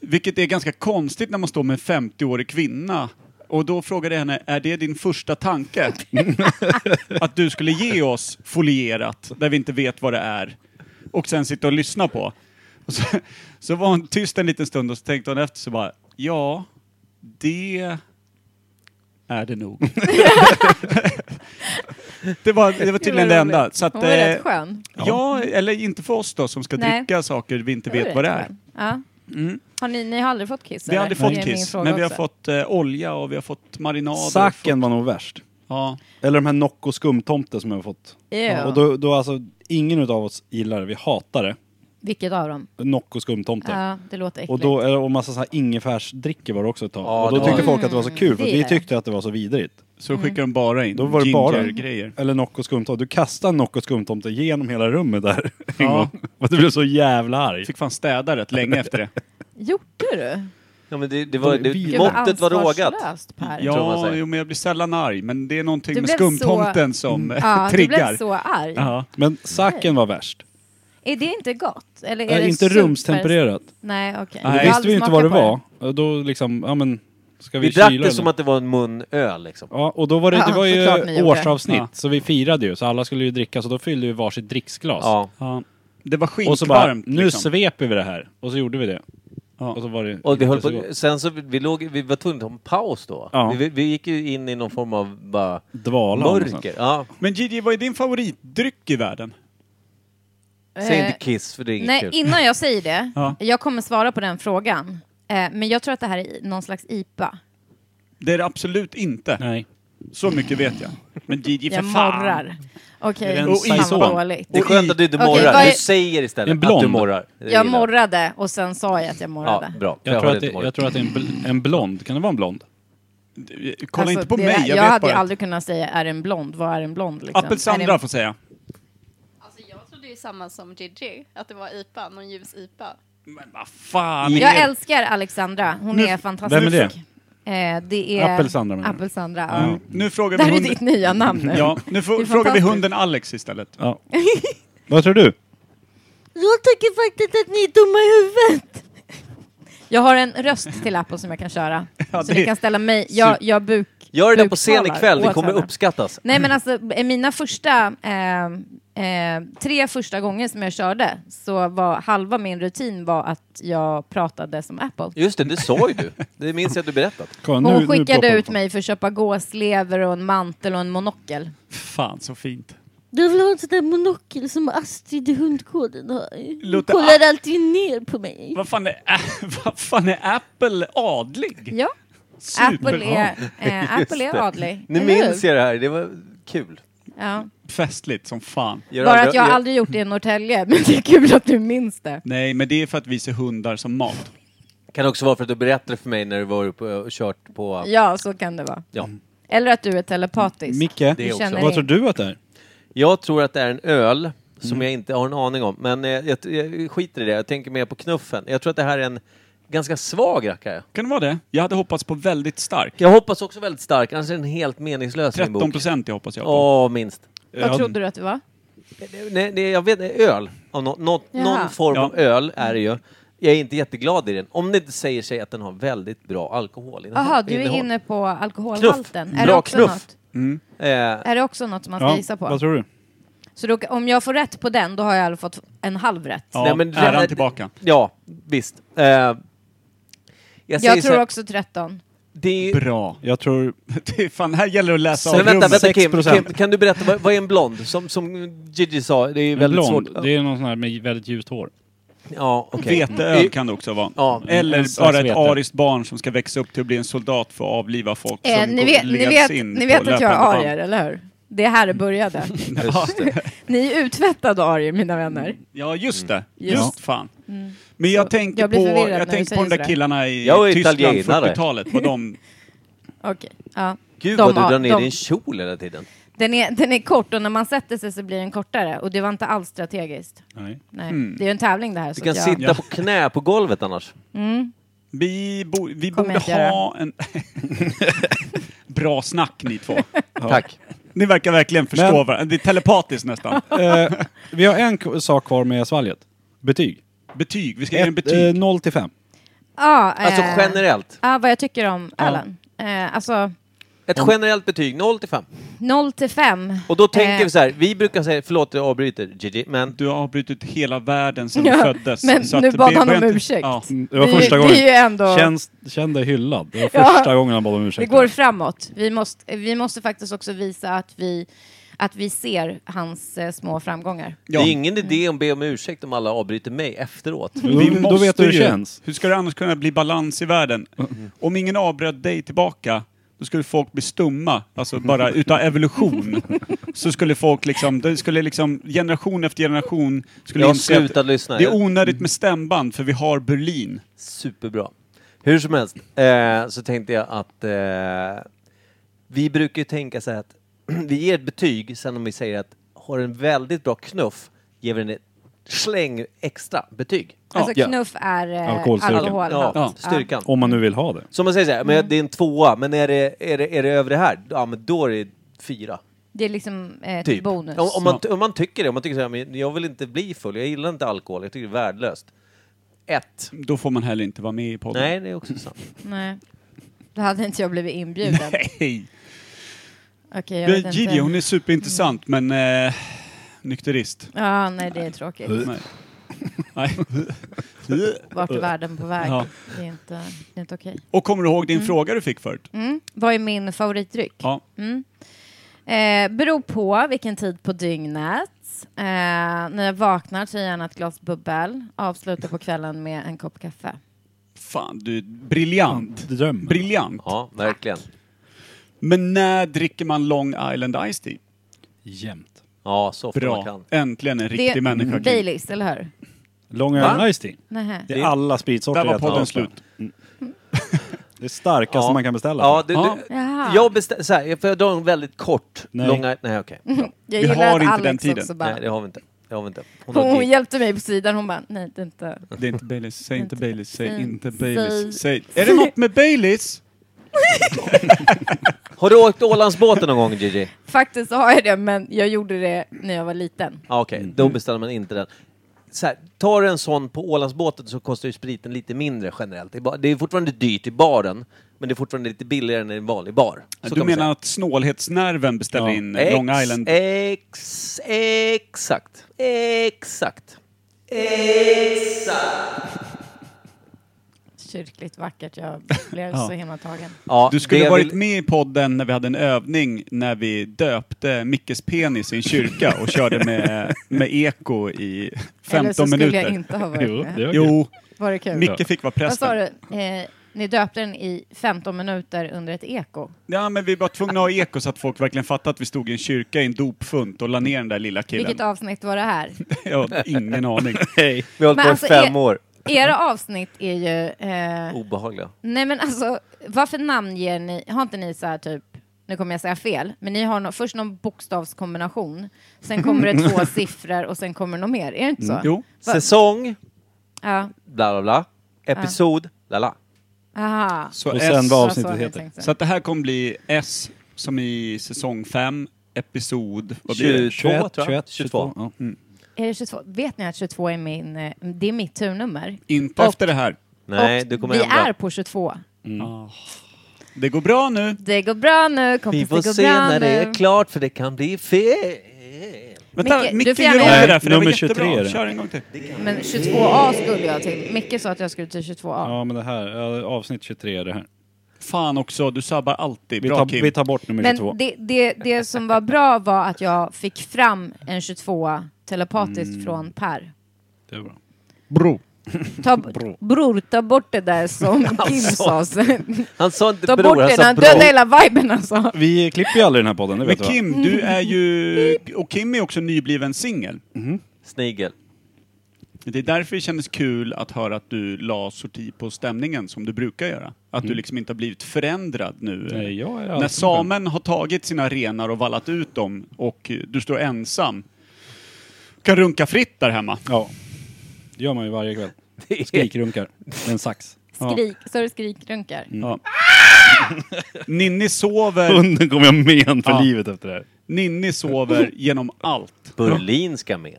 Vilket är ganska konstigt när man står med en 50-årig kvinna. Och då frågade jag henne, är det din första tanke? att du skulle ge oss folierat, där vi inte vet vad det är. Och sen sitta och lyssna på. Och så, så var hon tyst en liten stund och så tänkte hon efter så bara, ja, det är det nog. det, var, det var tydligen det enda. Så att,
Hon var rätt
eh,
skön.
Ja, eller inte för oss då som ska
Nej.
dricka saker vi inte
Hon var
vet vad det
rätt
är.
skön. Ja. Har ni, ni har aldrig fått kiss?
Vi har
eller?
aldrig
Det
fått
är min
kiss,
fråga
men vi har
också.
fått eh, olja och vi har fått marinad. och
Saken
fått-
var nog värst.
Ja.
Eller de här Nocco skumtomte som jag har fått.
Ew.
Och då, då alltså, ingen utav oss gillar det, vi hatar det.
Vilket av dem?
Nocco skumtomte.
Ja, det låter äckligt.
Och, då, eller- och massa så här ingefärsdrickor var det också ett tag.
Ja,
och då
det var
tyckte
det.
folk att det var så kul, för att vi
Det.
tyckte att det var så vidrigt.
Så skickar
Mm.
de bara in
Då var det bara
grejer.
Eller Nocco skumtomte. Du kastade en Nocco skumtomte genom hela rummet där en gång. Och du blev så jävla arg.
Fick fan städa rätt länge efter det.
Gjorde du?
Ja, men det, det var,
Gud,
det,
Gud, vad
måttet var rågat.
ansvarslöst, Per.
tror man
Ja,
säger.
jo, men jag blir sällan arg, men det är någonting
Du
med
blev så- Mm.
skumtomten som eh,
Ja, du
triggar.
blev så arg.
Ja.
Men saken var värst.
Är det inte gott? Eller är
Äh,
det
inte
super-
rumstempererat.
Nej, okej.
Då
Jag har
visste
aldrig
vi inte
smakat
vad det
på
var. Och Då liksom, ja men, ska vi,
Vi drack
kyla
det
eller?
som att det var en munöl liksom.
Ja, och då var det,
Ja,
det var
såklart ni
ju
gjorde.
årsavsnitt,
Ja.
så vi firade ju, så alla skulle ju dricka, så då fyllde vi varsitt dricksglas.
Ja.
Ja. Det var
Och så bara,
skitvarmt.
nu
liksom.
sveper vi det här. Och så gjorde vi det.
Ja.
Och så var det
Och vi
inte
höll
så gott.
på, sen så, vi låg, vi var tvungna att ta en paus då.
Ja.
Vi, vi gick ju in i någon form av bara
Dvala.
mörker. Ja.
Men Gigi, vad är din favoritdryck i världen?
det.
Säg
Eh,
inte kiss för det är inget
Nej,
kul.
innan jag säger det.
Ja.
Jag kommer svara på den frågan. Eh, men jag tror att det här är i- någon slags IPA.
Det är det absolut inte.
Nej.
Så mycket vet jag. Men Gigi, för
Jag
fan.
morrar. Okej,
Är det en
fan
saison?
vad dåligt.
det är skönt att du inte
Okej,
morrar.
vad är-
Du säger istället
En
att du
blond.
morrar. Det gillar
Jag morrade och sen sa jag att jag morrade.
Ja, bra. För
Jag, tror
har
att det,
inte morrat.
jag tror att det är en, bl- en blond. Kan det vara en blond?
Du, Kolla
Alltså,
inte på
det-
mig, jag,
Jag,
vet
hade ju
bara.
aldrig kunnat säga, är en blond? Vad är en blond? Liksom?
Appelsandra
Är det-
får säga.
Alltså jag trodde ju samma som JJ, att det var IPA, någon ljus IPA.
Men vad fan är
Jag
det?
älskar Alexandra. Hon är fantastisk.
Vem är det?
Eh, det är...
Appelsandra, menar du?
Appelsandra, ja.
Ja. Nu frågar
Det
vi
här är
hunden...
ditt nya namn nu.
Ja, nu
Det
får,
är
frågar vi
fantastiskt.
hunden Alex istället.
Ja. Vad tror du?
Jag tycker faktiskt att ni är dumma i huvudet. Jag har en röst till Apple som jag kan köra.
Ja,
så
det-
ni kan ställa mig. Jag, jag buk,
Gör det där på scen
buktalar
ikväll, det
åt
kommer
henne.
uppskattas.
Nej men alltså eh, mina första, eh, eh, tre första gånger som jag körde så var halva min rutin var att jag pratade som Apple.
Just det, det sa ju du. Det minns jag att du berättat.
Kolla,
Hon
nu- nu
skickade
ploppar det
ut
fram.
mig för att köpa gåslever och en mantel och en monokel.
Fan så fint.
Du vill ha en sån där monokel som Astrid i Hundkoden har. Du
Låter
kollar alltid ner på mig.
Vad fan är, vad fan är Apple adlig?
Ja, Apple är, eh, Apple är adlig.
Nu
eller hur?
minns jag det här, det var kul.
Ja.
Festligt som fan.
Gör
Bara
aldrig-
att jag har
gör- Mm.
aldrig gjort det i Norrtälje, men det är kul att du minns det.
Nej, men det är för att vi ser hundar som mat.
Kan också vara för att du berättade för mig när du var uppe och kört på...
Ja, så kan det vara.
Ja.
Eller att du är telepatisk.
Micke,
Det också.
känner
vad
in.
tror du att det är?
Jag tror att det är en öl som
Mm.
jag inte har en aning om, men eh, jag, jag skiter i det. Jag tänker mer på knuffen. Jag tror att det här är en ganska svag rackare.
Kan det vara det? Jag hade hoppats på väldigt stark.
Jag hoppas också väldigt stark, annars är den helt meningslös i min bok.
13 procent jag hoppas jag på.
Ja, minst.
Vad trodde du att det var?
Nej, det, jag vet öl. Av nå- nå-
Jaha.
någon form
Ja.
av öl är det ju. Jag är inte jätteglad i den, om det inte säger sig att den har väldigt bra alkoholinnehåll.
Jaha, du är
innehåll.
inne på alkoholhalten.
Knuff.
Är, det
Bra
också
knuff.
Något?
Eh,
är det också något som man ska gissa på?
Vad tror du?
Så då, om jag får rätt på den, då har jag i alla fall fått en halv rätt.
Ja,
nej, men-
äran tillbaka.
ja, visst. Eh, jag säger
jag
så
tror
här,
också 13.
det är,
Bra.
Jag tror...
Det är fan, här gäller det att läsa av
men vänta,
rummet.
vänta Kim,
6%.
Kim, kan du berätta, vad, vad är en blond? Som, som Gigi sa, det är
En
väldigt
blond.
svårt.
Det är någon sån här med väldigt ljust hår.
Ja, okej.
Mm.
Veteöl kan det också vara.
Ja.
Eller
En slags
bara ett
vete.
ariskt barn som ska växa upp till att bli en soldat för att avliva folk
Eh,
som
ni
går-
vet, ni
leds
vet,
in
ni
på
vet att jag är
löpande
arier,
band.
eller hur? Det är här det började.
Just det.
ni är utvättade arier, mina vänner.
Ja, just
Mm.
det.
Just.
Just fan. Men jag
Mm. Så,
tänker
jag blir
på,
förvirrad när
jag
du
tänker på
säger
de där
sådär.
killarna i
Jag är
Tyskland
italienare.
40-talet. vad De,
Okej. Ja.
Gud
De
vad du
har-
drar ner
de-
din kjol hela tiden.
Den är, den är kort och när man sätter sig så blir den kortare och det var inte alls strategiskt.
Nej.
Nej.
Mm.
Det är ju en tävling det här.
Du
så
kan
att jag...
sitta på knä på golvet annars.
Mm.
Vi, bo, vi
Kommer
borde
jag inte
ha en... Bra snack ni två.
Tack.
Ni verkar verkligen förstå
Men-
varandra. Det är telepatiskt nästan.
Eh, vi har en k- sak kvar med svalget. Betyg.
Betyg. Vi ska ge en
Ett,
betyg.
eh, 0 till 5.
Ja,
Alltså
eh,
generellt.
Ja, vad jag tycker om ölen. Eh, alltså
Ett generellt betyg, 0 till 5.
0 till 5.
Och då tänker
Eh.
vi så här, vi brukar säga, förlåt jag avbryter, Gigi, men
Du har avbrutit hela världen sedan du
Ja,
föddes.
men
så att
nu
det
bad han
börjar
om
inte-
ursäkt.
Ja. mm,
Mm, Det var
Vi-
första
vi
gången.
är ju ändå-
Känn, känn dig hyllad. Det var
Ja.
första gången han bad om ursäkt.
Det går framåt. Vi måste, vi måste faktiskt också visa att vi, att vi ser hans eh, små framgångar.
det
Ja.
är ingen idé att be om ursäkt om alla avbryter mig efteråt.
Mm.
Vi Mm. då, då
måste
vet du hur det
ju-
känns. Mm.
Hur ska det annars kunna bli balans i världen? Om ingen avbröt dig tillbaka, då skulle folk bli stumma. Alltså bara utav evolution. så skulle folk liksom, det skulle liksom generation efter generation skulle
Jag har
inse att
slutat lyssna.
Det är
Jag-
onödigt med stämband för vi har Berlin.
Superbra. Hur som helst eh, så tänkte jag att eh, vi brukar ju tänka så här att vi ger ett betyg, sen om vi säger att har en väldigt bra knuff, ger vi den ett släng extra betyg. Alltså,
Alltså
Ja.
knuff är eh,
Alkoholstyrkan.
alkohol.
Ja,
Ja.
styrkan.
Om man nu vill ha det.
Så man säger så här, men det är en tvåa, men är det, är det, är det över det här, ja men då är det fyra.
Det är liksom eh,
Typ.
bonus.
Om, om, man, om man tycker det, om man tycker så här, men jag vill inte bli full, jag gillar inte alkohol, jag tycker det är värdelöst. Ett.
Då får man heller inte vara med i podden.
Nej, det är också sant.
Nej. Då hade inte jag blivit inbjuden.
Nej.
Okej, jag vet
Gigi,
inte.
hon är superintressant men eh, nykterist.
Ja, nej det är
Äh.
tråkigt.
Nej. Nej.
Vart är världen på väg?
Ja.
Det är inte, det är inte okej.
Och kommer du ihåg din fråga du fick förut?
Mm. Vad är min favoritdryck?
Ja.
Mm. Eh, beror på vilken tid på dygnet. Eh, när jag vaknar tar jag gärna ett glas bubbel. Avslutar på kvällen med en kopp kaffe.
Fan, du är briljant.
Dröm.
Briljant.
Ja, verkligen.
Men när dricker man Long Island Iced Tea?
Jämt.
Ja, så ofta man
Bra.
kan.
Äntligen en riktig
det
människa.
är Baileys, eller hur?
Long Island Iced Tea.
Nähä.
Det är alla spritsorter.
Där var
jag tar.
podden slut.
Det är starkaste
Ja.
man kan beställa.
Ja, du,
Ja.
du,
Jaha.
jag bestämmer, så här, jag får dra en väldigt kort,
Nej.
långa, nej okej. Bra.
Jag
Vi
gillar
har
att
inte
Alex
den tiden.
också bara...
Nej, det har vi inte. Det har vi inte. Hon
hon,
har
hon
gig.
hjälpte mig på sidan, hon bara nej det är inte...
Det är inte Baileys. Säg inte
Säg-
Baileys. Säg
säg-
inte
säg-
Baileys. Säg. Är det något med Baileys?
Har du åkt Ålandsbåten någon gång Gigi?
Faktiskt har jag det men jag gjorde det när jag var liten.
Ja, okej,
Mm.
då beställer man inte den. Så här, tar du en sån på Ålandsbåten så kostar ju spriten lite mindre generellt. Det är, bara, det är fortfarande dyrt i baren, men det är fortfarande lite billigare än en vanlig bar.
du
Så kan man
menar att snålhetsnerven beställer
Ja.
in
säga.
Long
Ex-
Island?
Ex, exakt. Exakt. Exakt.
Kyrkligt vackert, jag blev så himla tagen.
Ja,
Du skulle
det
varit
vill-
med i podden när vi hade en övning när vi döpte Mickes penis i en kyrka och körde med, med eko i 15
eller så skulle
minuter.
jag inte ha varit
Jo,
med.
det var kul.
Jo,
Var det kul?
Micke fick vara
Vad sa
prästen.
du? Eh, ni döpte den i 15 minuter under ett eko.
Ja, men vi var tvungna att ha eko så att folk verkligen fattade att vi stod i en kyrka i en dopfunt och la ner den där lilla killen.
Vilket avsnitt var det här?
Jag har ingen aning.
Vi har hållit
Men
på i
alltså,
fem
är-
år.
Era avsnitt är ju...
Oh.
Eh,
Obehagliga.
nej men alltså, varför namnger ni... Har inte ni så här typ... Nu kommer jag säga fel, men ni har nå- först någon bokstavskombination, sen kommer det två siffror och sen kommer det något mer. Är det inte
Mm,
så?
Mm, Jo,
Va-
Säsong,
Ja.
bla bla bla. Episod, bla bla.
Aha.
så
Och sen
S-
vad
Så
avsnittet
så jag
heter.
tänkte.
Så att det här kommer bli S som i säsong 5, episod... Vad blir det?
22, tror
21,
jag.
22. Ja.
Är det 22? Vet ni att 22 är min... eh, Det är mitt turnummer.
Inte
Och-
efter det här.
Nej,
och
du kommer
vi
ändra.
är på 22.
Det går bra nu.
Det går bra nu, kompis.
Vi får
det går
se
bra
när
nu.
det är klart, för det kan bli fel.
Vänta,
Micke,
Micke,
du får
gör
gärna-
om det där
Nej,
för det var
nummer
jättebra.
23 är det.
Kör en gång till.
Men 22A skulle jag till. Micke sa att jag skulle till 22A.
men det här, ja, avsnitt 23 är det här.
Fan också, du sabbar alltid.
Vi
Bra
tar,
Kim.
vi tar bort nummer 22.
Men det, det, det som var bra var att jag fick fram en 22A telepatiskt
Mm.
från Per.
Det är bra.
Ta, bror, ta bort det där som Kim sa. sen.
Han sa inte
Ta
Alltså, bror, alltså,
bort
han
det,
sa
den döda
bror.
hela viben alltså.
Vi klipper ju aldrig den här podden, det
Men
vet du va?
Kim,
Mm.
du är ju... Och Kim är också nybliven singel.
Snigel.
Det är därför det kändes kul att höra att du la sorti på stämningen som du brukar göra. Att du liksom inte har blivit förändrad nu.
Nej, jag är
När
alltid
samen har tagit sina renar och vallat ut dem och eh, du står ensam. kan runka fritt där hemma.
Ja. Det gör man ju varje kväll. Skrikrunkar. Med en sax.
Skrik, så du skrikrunkar.
Mm.
Ja. Ninni sover...
Hunden kommer jag med en för
Ja.
livet efter det här.
Ninni sover genom allt.
Berlinska men.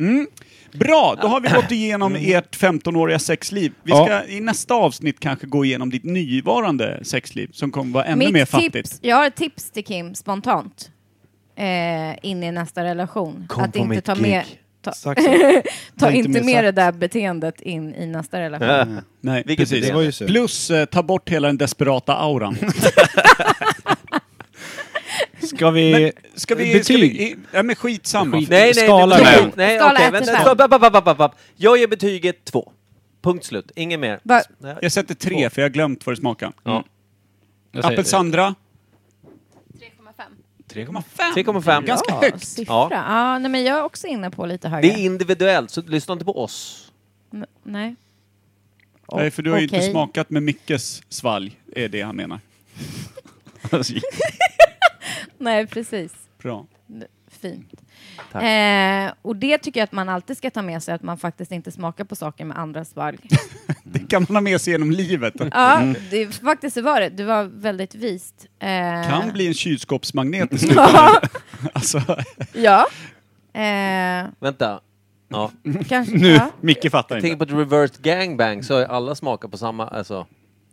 Mm. Bra, då har vi gått igenom ert 15-åriga sexliv. Vi ska
Ja.
i nästa avsnitt kanske gå igenom ditt nuvarande sexliv som kommer vara ännu
Mitt
mer
tips,
fattigt.
Jag har ett tips till Kim spontant. Eh, in i nästa relation.
Kom
att
på
inte
mitt
ta
gig.
med, ta,
Saxen.
ta
inte
inte
med
med
sax.
det där beteendet in i nästa relation.
Nej,
Vilket
precis.
beteende? Det var
ju synd.
Plus eh, ta bort hela den desperata auran.
Ska vi...
Men, ska vi... Ska
Betyg.
vi i, ja, men skitsamma.
Skit.
Nej, nej,
Skala
nej,
fem.
nej, nej,
Skala
okej,
ett till
vänta,
fem.
stopp, stopp, stopp, stopp, stopp. Jag ger betyget två. Punkt slut, inget mer.
Va-
Nej.
Jag sätter tre, för jag har glömt vad det smakar. Mm.
Ja.
Jag säger-
Appelsandra?
3,5.
3,5.
Ganska
ja,
högt.
Siffra.
Ja.
Ja. nej, men jag är också inne på lite högre.
Det är individuellt, så lyssna inte på oss.
N- nej.
Nej, eh, för du har ju inte
Okej.
smakat med Mickes svalg, är det han menar.
Nej, precis.
Mm.
Bra.
Fint.
Tack.
Eh, och det tycker jag att man alltid ska ta med sig, att man faktiskt inte smakar på saker med andras svalg.
Mm. Det kan man ha med sig genom livet.
ja, det, faktiskt så var det. Du var väldigt vist. Eh,
kan bli en kylskåpsmagnet i slutändan. alltså,
Ja. Eh,
Vänta. Ja.
kanske, ja.
Micke fattar
Tänk på ett reversed gangbang så har alla smakar på samma, alltså.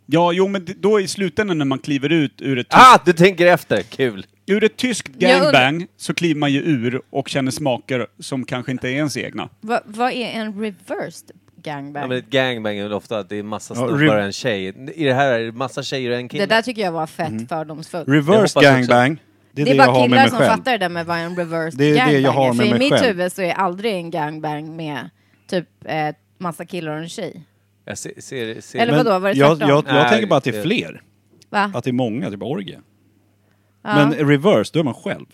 ja, jo, men det- då i slutändan när man kliver ut ur ett, tyskt,
Ah, du tänker efter! Kul!
ur ett tyskt
Jag und-
gangbang så kliver man ju ur och känner smaker som kanske inte är ens egna.
Va, vad är en reversed gangbang?
Ja, men ett gangbang är väl ofta att det är massa
Ja,
snubbar och
rib-
en tjej. I det här är det massa tjejer och en
det
kille.
där tycker jag var fett
Mm.
fördomsfullt.
Jag
Reverse
hoppas också.
gangbang. Det
det
är
är
det, jag
bara
har med
killar
mig
som
själv.
fattar det där med vad en reversed
Det är det jag
gangbang
har
är.
med
För
mig
i mitt
själv.
huvud så är aldrig en gangbang med typ eh, massa killar och en tjej.
Jag ser, ser, ser.
Eller-
Eller...
Men vadå, var det
jag,
tvärtom?
jag, jag
Nej,
tänker bara att det
det-
är fler.
Va?
Att det är många, typ orgie.
Ja.
Men reverse, då är man själv.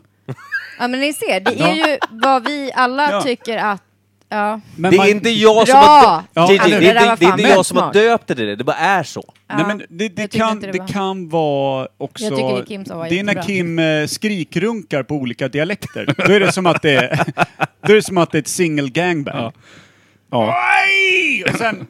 ja men ni ser, det är ju vad vi alla
Ja. tycker
tycker att... Ja.
Men
Det
man-
är inte jag som har
Bra!
dö- Gigi,
Alltså,
det,
det
är
där
inte-
var
det är inte
fan Eh,
jag som har
smart.
döpt det till det, det bara är så.
Nej, men det, det,
jag tycker
kan,
inte
det,
det var-
kan vara också...
Jag tycker det är Kim som var
det är när
jättebra.
Kim eh, skrikrunkar på olika dialekter. då är det som att det är, då är, det som att det är ett single gangbang.
Ja. Ja.
Oj! Och sen...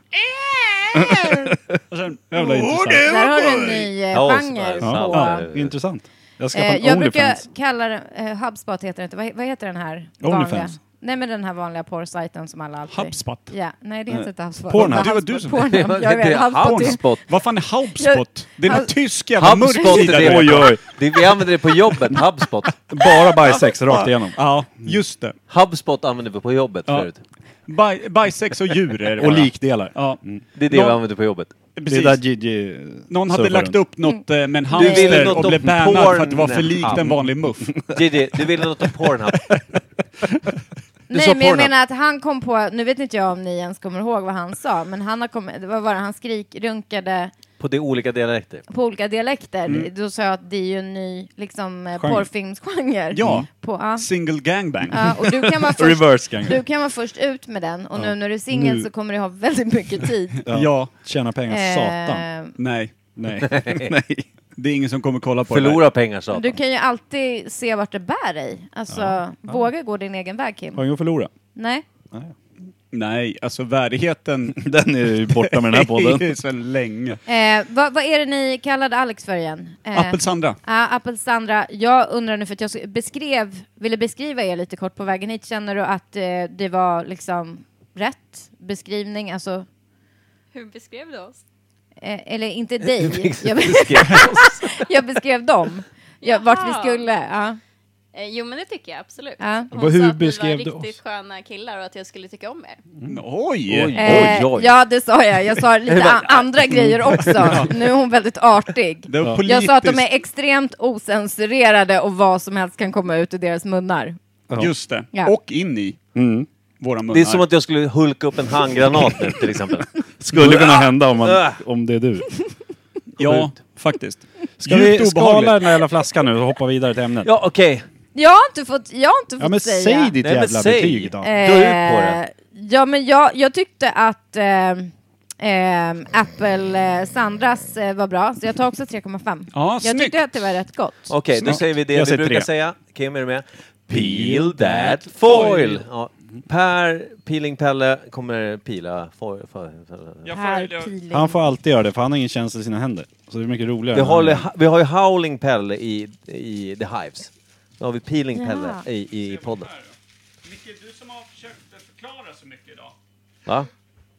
och sen...
Jävla intressant.
Där har du en ny eh,
Ja,
genre
så-
på...
ja.
Ja, intressant. Jag ska
Eh,
eh,
jag brukar
Onlyfans.
kalla den, eh, Hubspot heter det inte, vad, vad heter den här?
Onlyfans.
vanliga? Nej men den här vanliga porrsajten som alla alltid...
Hubspot.
Ja, nej det heter inte Hubspot.
Pornhub.
Det var
Det var du som-
Pornhub. Jag
Det
vet,
är
Hubspot är-
Hubspot.
Vad fan är Haupspot? Det är någon
Hub-
tysk jävla mörk
Hubspot
sida.
är det.
där.
Oj, oj.
Det, vi använder det på jobbet, Hubspot.
Bara bajsex rakt igenom.
Ja, just det.
Hubspot använder vi på jobbet
Ja.
förut.
Baj, bajsex och djur är det
Och
bara.
likdelar.
Ja,
Det är det
Någon-
vi använder på jobbet.
Det är
precis.
där Gigi
Någon hade
surfar
lagt
runt.
upp något eh, med en
ville
hamster
något
och
om
blev bannad för att det var
porn.
för likt en vanlig muff.
Gigi, du ville något om Pornhub.
sa
Nej men jag
Pornhub.
menar att han kom på, nu vet inte jag om ni ens kommer ihåg vad han sa, men han har kommit, vad var det, han skrikrunkade
På de olika dialekter.
på olika dialekter. Då sa jag att det är ju en ny liksom eh,
Mm. Genre.
porrfilmsgenre.
Ja.
På, ja.
Single gangbang.
Ja, och du kan vara först
Reverse gang.
Du kan vara först ut med den och
Ja.
nu när du
Nu.
är singel så kommer du ha väldigt mycket tid.
Ja.
Ja,
Tjäna pengar, satan.
Eh,
nej.
Nej.
nej. Det är ingen som kommer kolla på
Förlora pengar sa
Du
de.
kan ju alltid se vart det bär dig. Alltså, våga gå din egen väg, Kim.
Har ingen att förlora.
Nej.
det där. Nej, alltså värdigheten
Den är ju borta med den här
är
podden.
ju så länge.
Eh, vad, vad är det ni kallade Alex för igen? Eh,
Appelsandra.
Ja, Appelsandra, jag undrar nu för att jag sk- beskrev, ville beskriva er lite kort på vägen hit. Känner du att eh, det var liksom rätt beskrivning? Alltså,
Hur beskrev du oss?
eh, eller inte dig. jag, jag beskrev dem. Ja, vart vi
Jaha.
skulle. Ja.
Eh, jo men det tycker jag absolut.
Ja.
Hon
Vad- hur
sa att
beskrev
ni
du
var riktigt
oss?
sköna killar och att jag skulle tycka om er.
Mm.
Oj!
Oj.
Eh,
oj.
Ja, det sa jag. Jag sa lite a- andra grejer också. Nu är hon väldigt artig.
Det var
Jag
politiskt.
sa att de är extremt osensurerade och vad som helst kan komma ut ur deras munnar.
Just det.
Ja.
Och in i
Mm.
våra munnar.
Det är som att jag skulle hulka upp en handgranat nu till exempel.
Skulle kunna hända om, man, om det är du.
Ja, faktiskt.
Ska vi
Djupt
skala
obehagligt.
den här jävla flaskan nu och hoppa vidare till ämnet?
Ja, okej.
Jag har inte fått, jag har inte
Ja,
fått
men
säga.
säg ditt Nej, men jävla säg. betyg då. Dra ut på det.
Eh, Ja, men jag, jag tyckte att eh, eh, Apple eh, Sandras eh, var bra, så jag tar också 3,5.
Ja,
jag
snyggt.
tyckte att det var rätt gott.
Okej, då
Snyggt.
säger vi det
Jag
vi
säger
brukar
tre.
säga. Kim, är du med? Peel that foil! Ja. Per Peeling-Pelle kommer pila foil. foil, foil.
Han får alltid göra det, för han har ingen känsla i sina händer. Så det är mycket roligare.
Vi,
än
håller,
han.
vi har ju Howling-Pelle i, i The Hives. Nu har vi Peeling-Pelle
Jaha.
i, i podden.
Micke, du som har försökt förklara så mycket idag.
Va?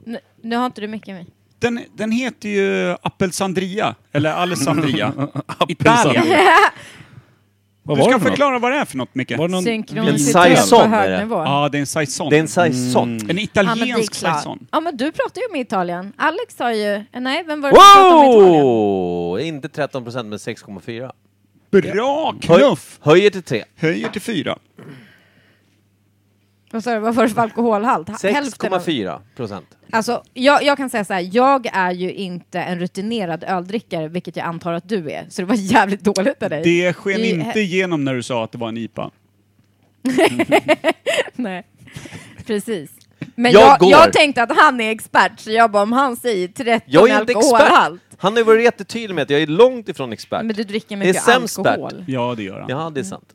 Nu, nu har inte du mycket med.
Den, den heter ju Appelsandria, eller Alessandria. Italien.
Vad
du
var
ska
det för
förklara vad det är för något, Micke.
Var det någon
Synkronicitet En saison på hög är det. nivå.
Ja, det är en saison.
Det är en saison.
En
Mm.
Ja, men det är
italiensk
klart.
saison.
Ja, men du pratar ju om Italien. Alex har ju... eh, Nej, vem var det som pratade om Italien?
Wow! Inte 13 procent, men 6,4.
Bra
knuff! Höj, höjer till 3.
Höjer till 4.
Vad sa du, vad var det för alkoholhalt? Ha- hälften av-
6,4 procent.
Alltså, jag, jag kan säga så här, jag är ju inte en rutinerad öldrickare, vilket jag antar att du är, så det var jävligt dåligt av dig.
Det sken
I-
inte igenom när du sa att det var en IPA.
Nej, precis. Men
Jag
jag, jag,
går.
tänkte att han är expert, så jag bara, om han säger 13
Jag är inte expert!
alkoholhalt.
Han har ju varit jättetydlig med att jag är långt ifrån expert.
Men du dricker
Det är
mycket
sämst
alkohol.
Bert.
Ja, det gör han.
Ja, det är sant.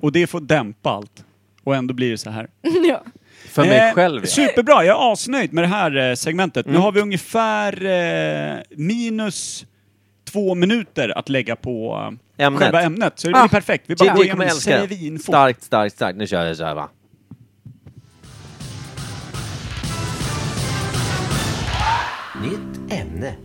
Och det får dämpa allt. Och ändå blir det så här.
ja.
För mig själv, Mm. ja.
Eh, Superbra, jag är asnöjd med det här eh, segmentet. Nu har vi ungefär eh, minus två minuter att lägga på eh,
Ämnet. Ah,
själva ämnet. Så det blir perfekt. Vi bara
Gigi
går
kommer
igenom
älska det.
Sevinfo.
Starkt, starkt, starkt. Nu kör jag så här va. Nytt ämne.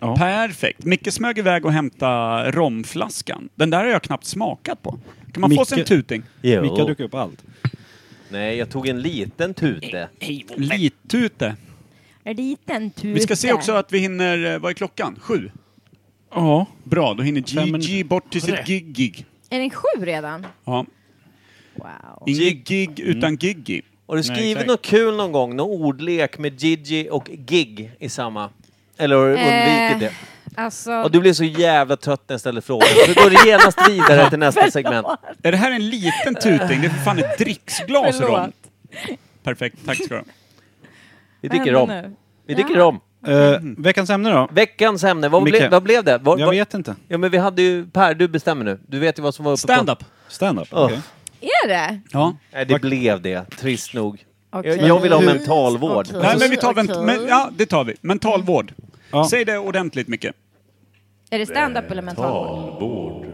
Perfekt. Micke smög iväg och hämtade romflaskan. Den där har jag knappt smakat på. Kan man få sig en
Micke-
tuting?
Jo. Micke har druckit
upp allt.
Nej, jag tog en liten tute.
Littute.
Liten tute.
Vi ska se också att vi hinner, eh, vad är klockan? Sju? Ja. Bra, då hinner Gigi bort till sitt gig-gig.
Är den sju redan?
Ja.
Wow.
Inget gig
Mm.
utan giggi.
Har du skrivit något kul någon gång? Någon ordlek med Gigi och gig i samma? Eller har du
Eh,
undvikit det?
Alltså,
Och du blev så jävla trött när jag ställde frågan. Så du går genast vidare till nästa segment.
Är det här en liten tuting? Det är för fan ett dricksglas
Förlåt.
rom. Perfekt, tack ska du ha.
Vi
Vad
dricker
händer
om.
nu?
Vi
Ja.
dricker om.
Eh, veckans ämne då?
Veckans ämne, vad,
Micke.
ble, vad blev det? Vad,
Jag
vad-
vet inte.
Ja men vi hade ju, Per du bestämmer nu. Du vet ju vad som var uppe
Stand-up.
Stand-up,
Åh.
okej.
är det?
Ja.
Nej det blev det, trist nog.
Okej.
Jag, jag vill ha
Okej.
mentalvård.
Okej.
Nej men vi tar,
Okej.
vänt, men, ja det tar vi. Mentalvård. Säg det ordentligt Micke.
Är det stand-up eller mentalvård?
Mentalvård.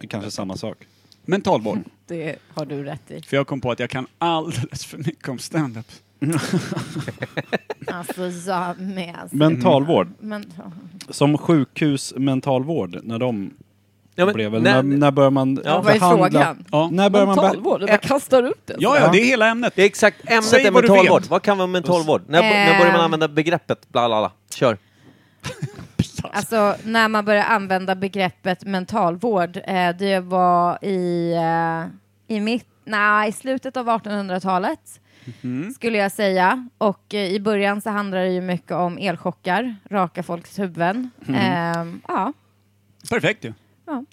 Det är kanske samma sak.
Mentalvård.
Det har du rätt i.
För jag kom på att jag kan alldeles för mycket om stand-up.
Alltså, jag med. Alltså.
Mentalvård.
Men,
Som sjukhusmentalvård, när de
Ja, men
blev väl,
när-
när, när börjar man
Ja, vad är frågan?
Ja. När börjar man
Mentalvård?
Jag kastar upp den.
Ja, ja, det är hela ämnet.
Det är exakt, ämnet
Säg
är
vad du
mentalvård.
vet.
Vad kan vara mentalvård? När, bo- när börjar man
Ehm.
använda begreppet bla bla bla? Kör.
Alltså när man började använda begreppet mentalvård, eh, det var i, eh, i, mitt, nej, i slutet av 1800-talet
Mhm.
skulle jag säga. Och eh, i början så handlade det ju mycket om elchockar, raka folks huvuden.
Mhm.
Ehm, ja.
Perfekt ju.
Ja.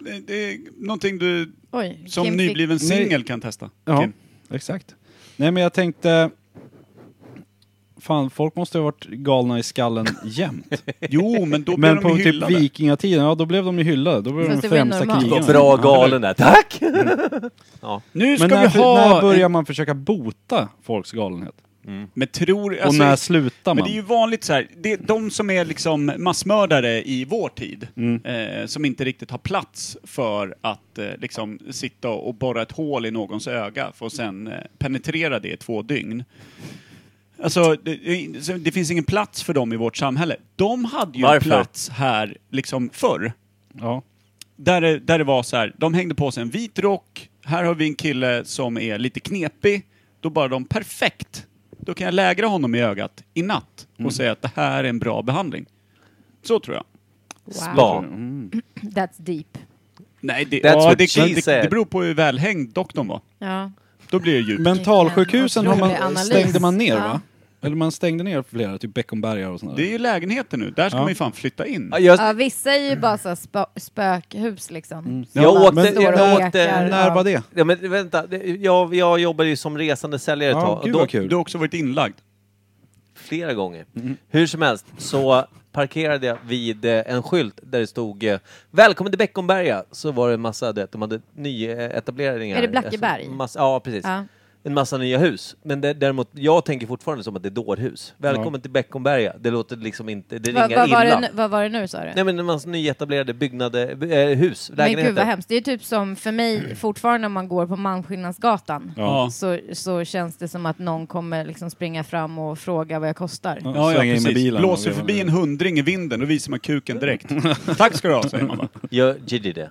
Det, det är någonting du
Oj,
som
Kim fick-
nybliven
Nej.
singel kan testa.
Ja,
Kim.
exakt. Nej, men jag tänkte... Fan, folk måste ha varit galna i skallen jämt.
jo, men då
Men
blev de
på
ju
typ
hyllade.
vikingatiden, ja då blev de ju hyllade. Då blev
Fast
de
det var ju
främsta
normalt.
krigarna.
Bra galen där, tack! Ja.
Nu
Men
ska
när,
vi ha
när börjar
en-
man försöka bota folks galenhet?
Men tror...
Och när slutar
Alltså, Men
man?
det är ju vanligt så här, det är de som är liksom massmördare i vår tid, eh, som inte riktigt har plats för att eh, liksom sitta och borra ett hål i någons öga för att sen eh, penetrera det i två dygn. Alltså, det, det- så det finns ingen plats för dem i vårt samhälle. De hade ju en
Varför?
plats här liksom förr.
Ja.
Där det, där det var så här, de hängde på sig en vit rock, här har vi en kille som är lite knepig, då bara de perfekt. Då kan jag lägra honom i ögat i natt och säga att det här är en bra behandling. Så tror jag.
Spa.
Mm. That's deep.
Nej, det,
That's
ja,
what
det,
she
det, det
said.
beror på hur välhängd doktorn var.
Ja.
Då blir det djupt.
Mentalsjukhusen har
Otrolig
man,
analys.
stängde man ner
Ja.
va? Eller man stängde ner flera, typ Beckomberga och sånt där.
Det är ju lägenheter nu, där ska
Ja.
man ju fan flytta in.
Ja, vissa är ju bara så här spö spökhus liksom. Som
Jag
man
åkte...
står och
jag eh,
ekar
åkte
av.
Ja, men vänta. det- Jag, jag jobbade ju som resande säljare ett
Ja,
tag. och
gud
då-
vad kul. Mm-hmm. Du har också varit inlagd.
Flera gånger. Hur som helst så parkerade jag vid eh, en skylt där det stod eh, Välkommen till Beckomberga. Så var det en massa, du vet, de hade nyetableringar.
Är det Blackeberg?
Alltså, massa, ja, precis.
Ja.
En massa nya hus. Men det, däremot, jag tänker fortfarande som att det är dårhus. Välkommen till Beckomberga. Det låter liksom inte, det
Vad-
ringar
vad var
illa.
det nu- Vad var det nu sa du?
Nej men en massa nyetablerade byggnader, by- eh, hus,
Men gud vad
lägenheter.
hemskt. Det är ju typ som för mig fortfarande om man går på Malmskillnadsgatan
Ja.
så, så känns det som att någon kommer liksom springa fram och fråga vad jag kostar.
Ja, ja,
Slänga in med
precis.
bilen och
Blåser
veva
förbi en hundring i vinden, då visar man kuken direkt. Tack ska du ha, säger man bara.
Gör Gigi det?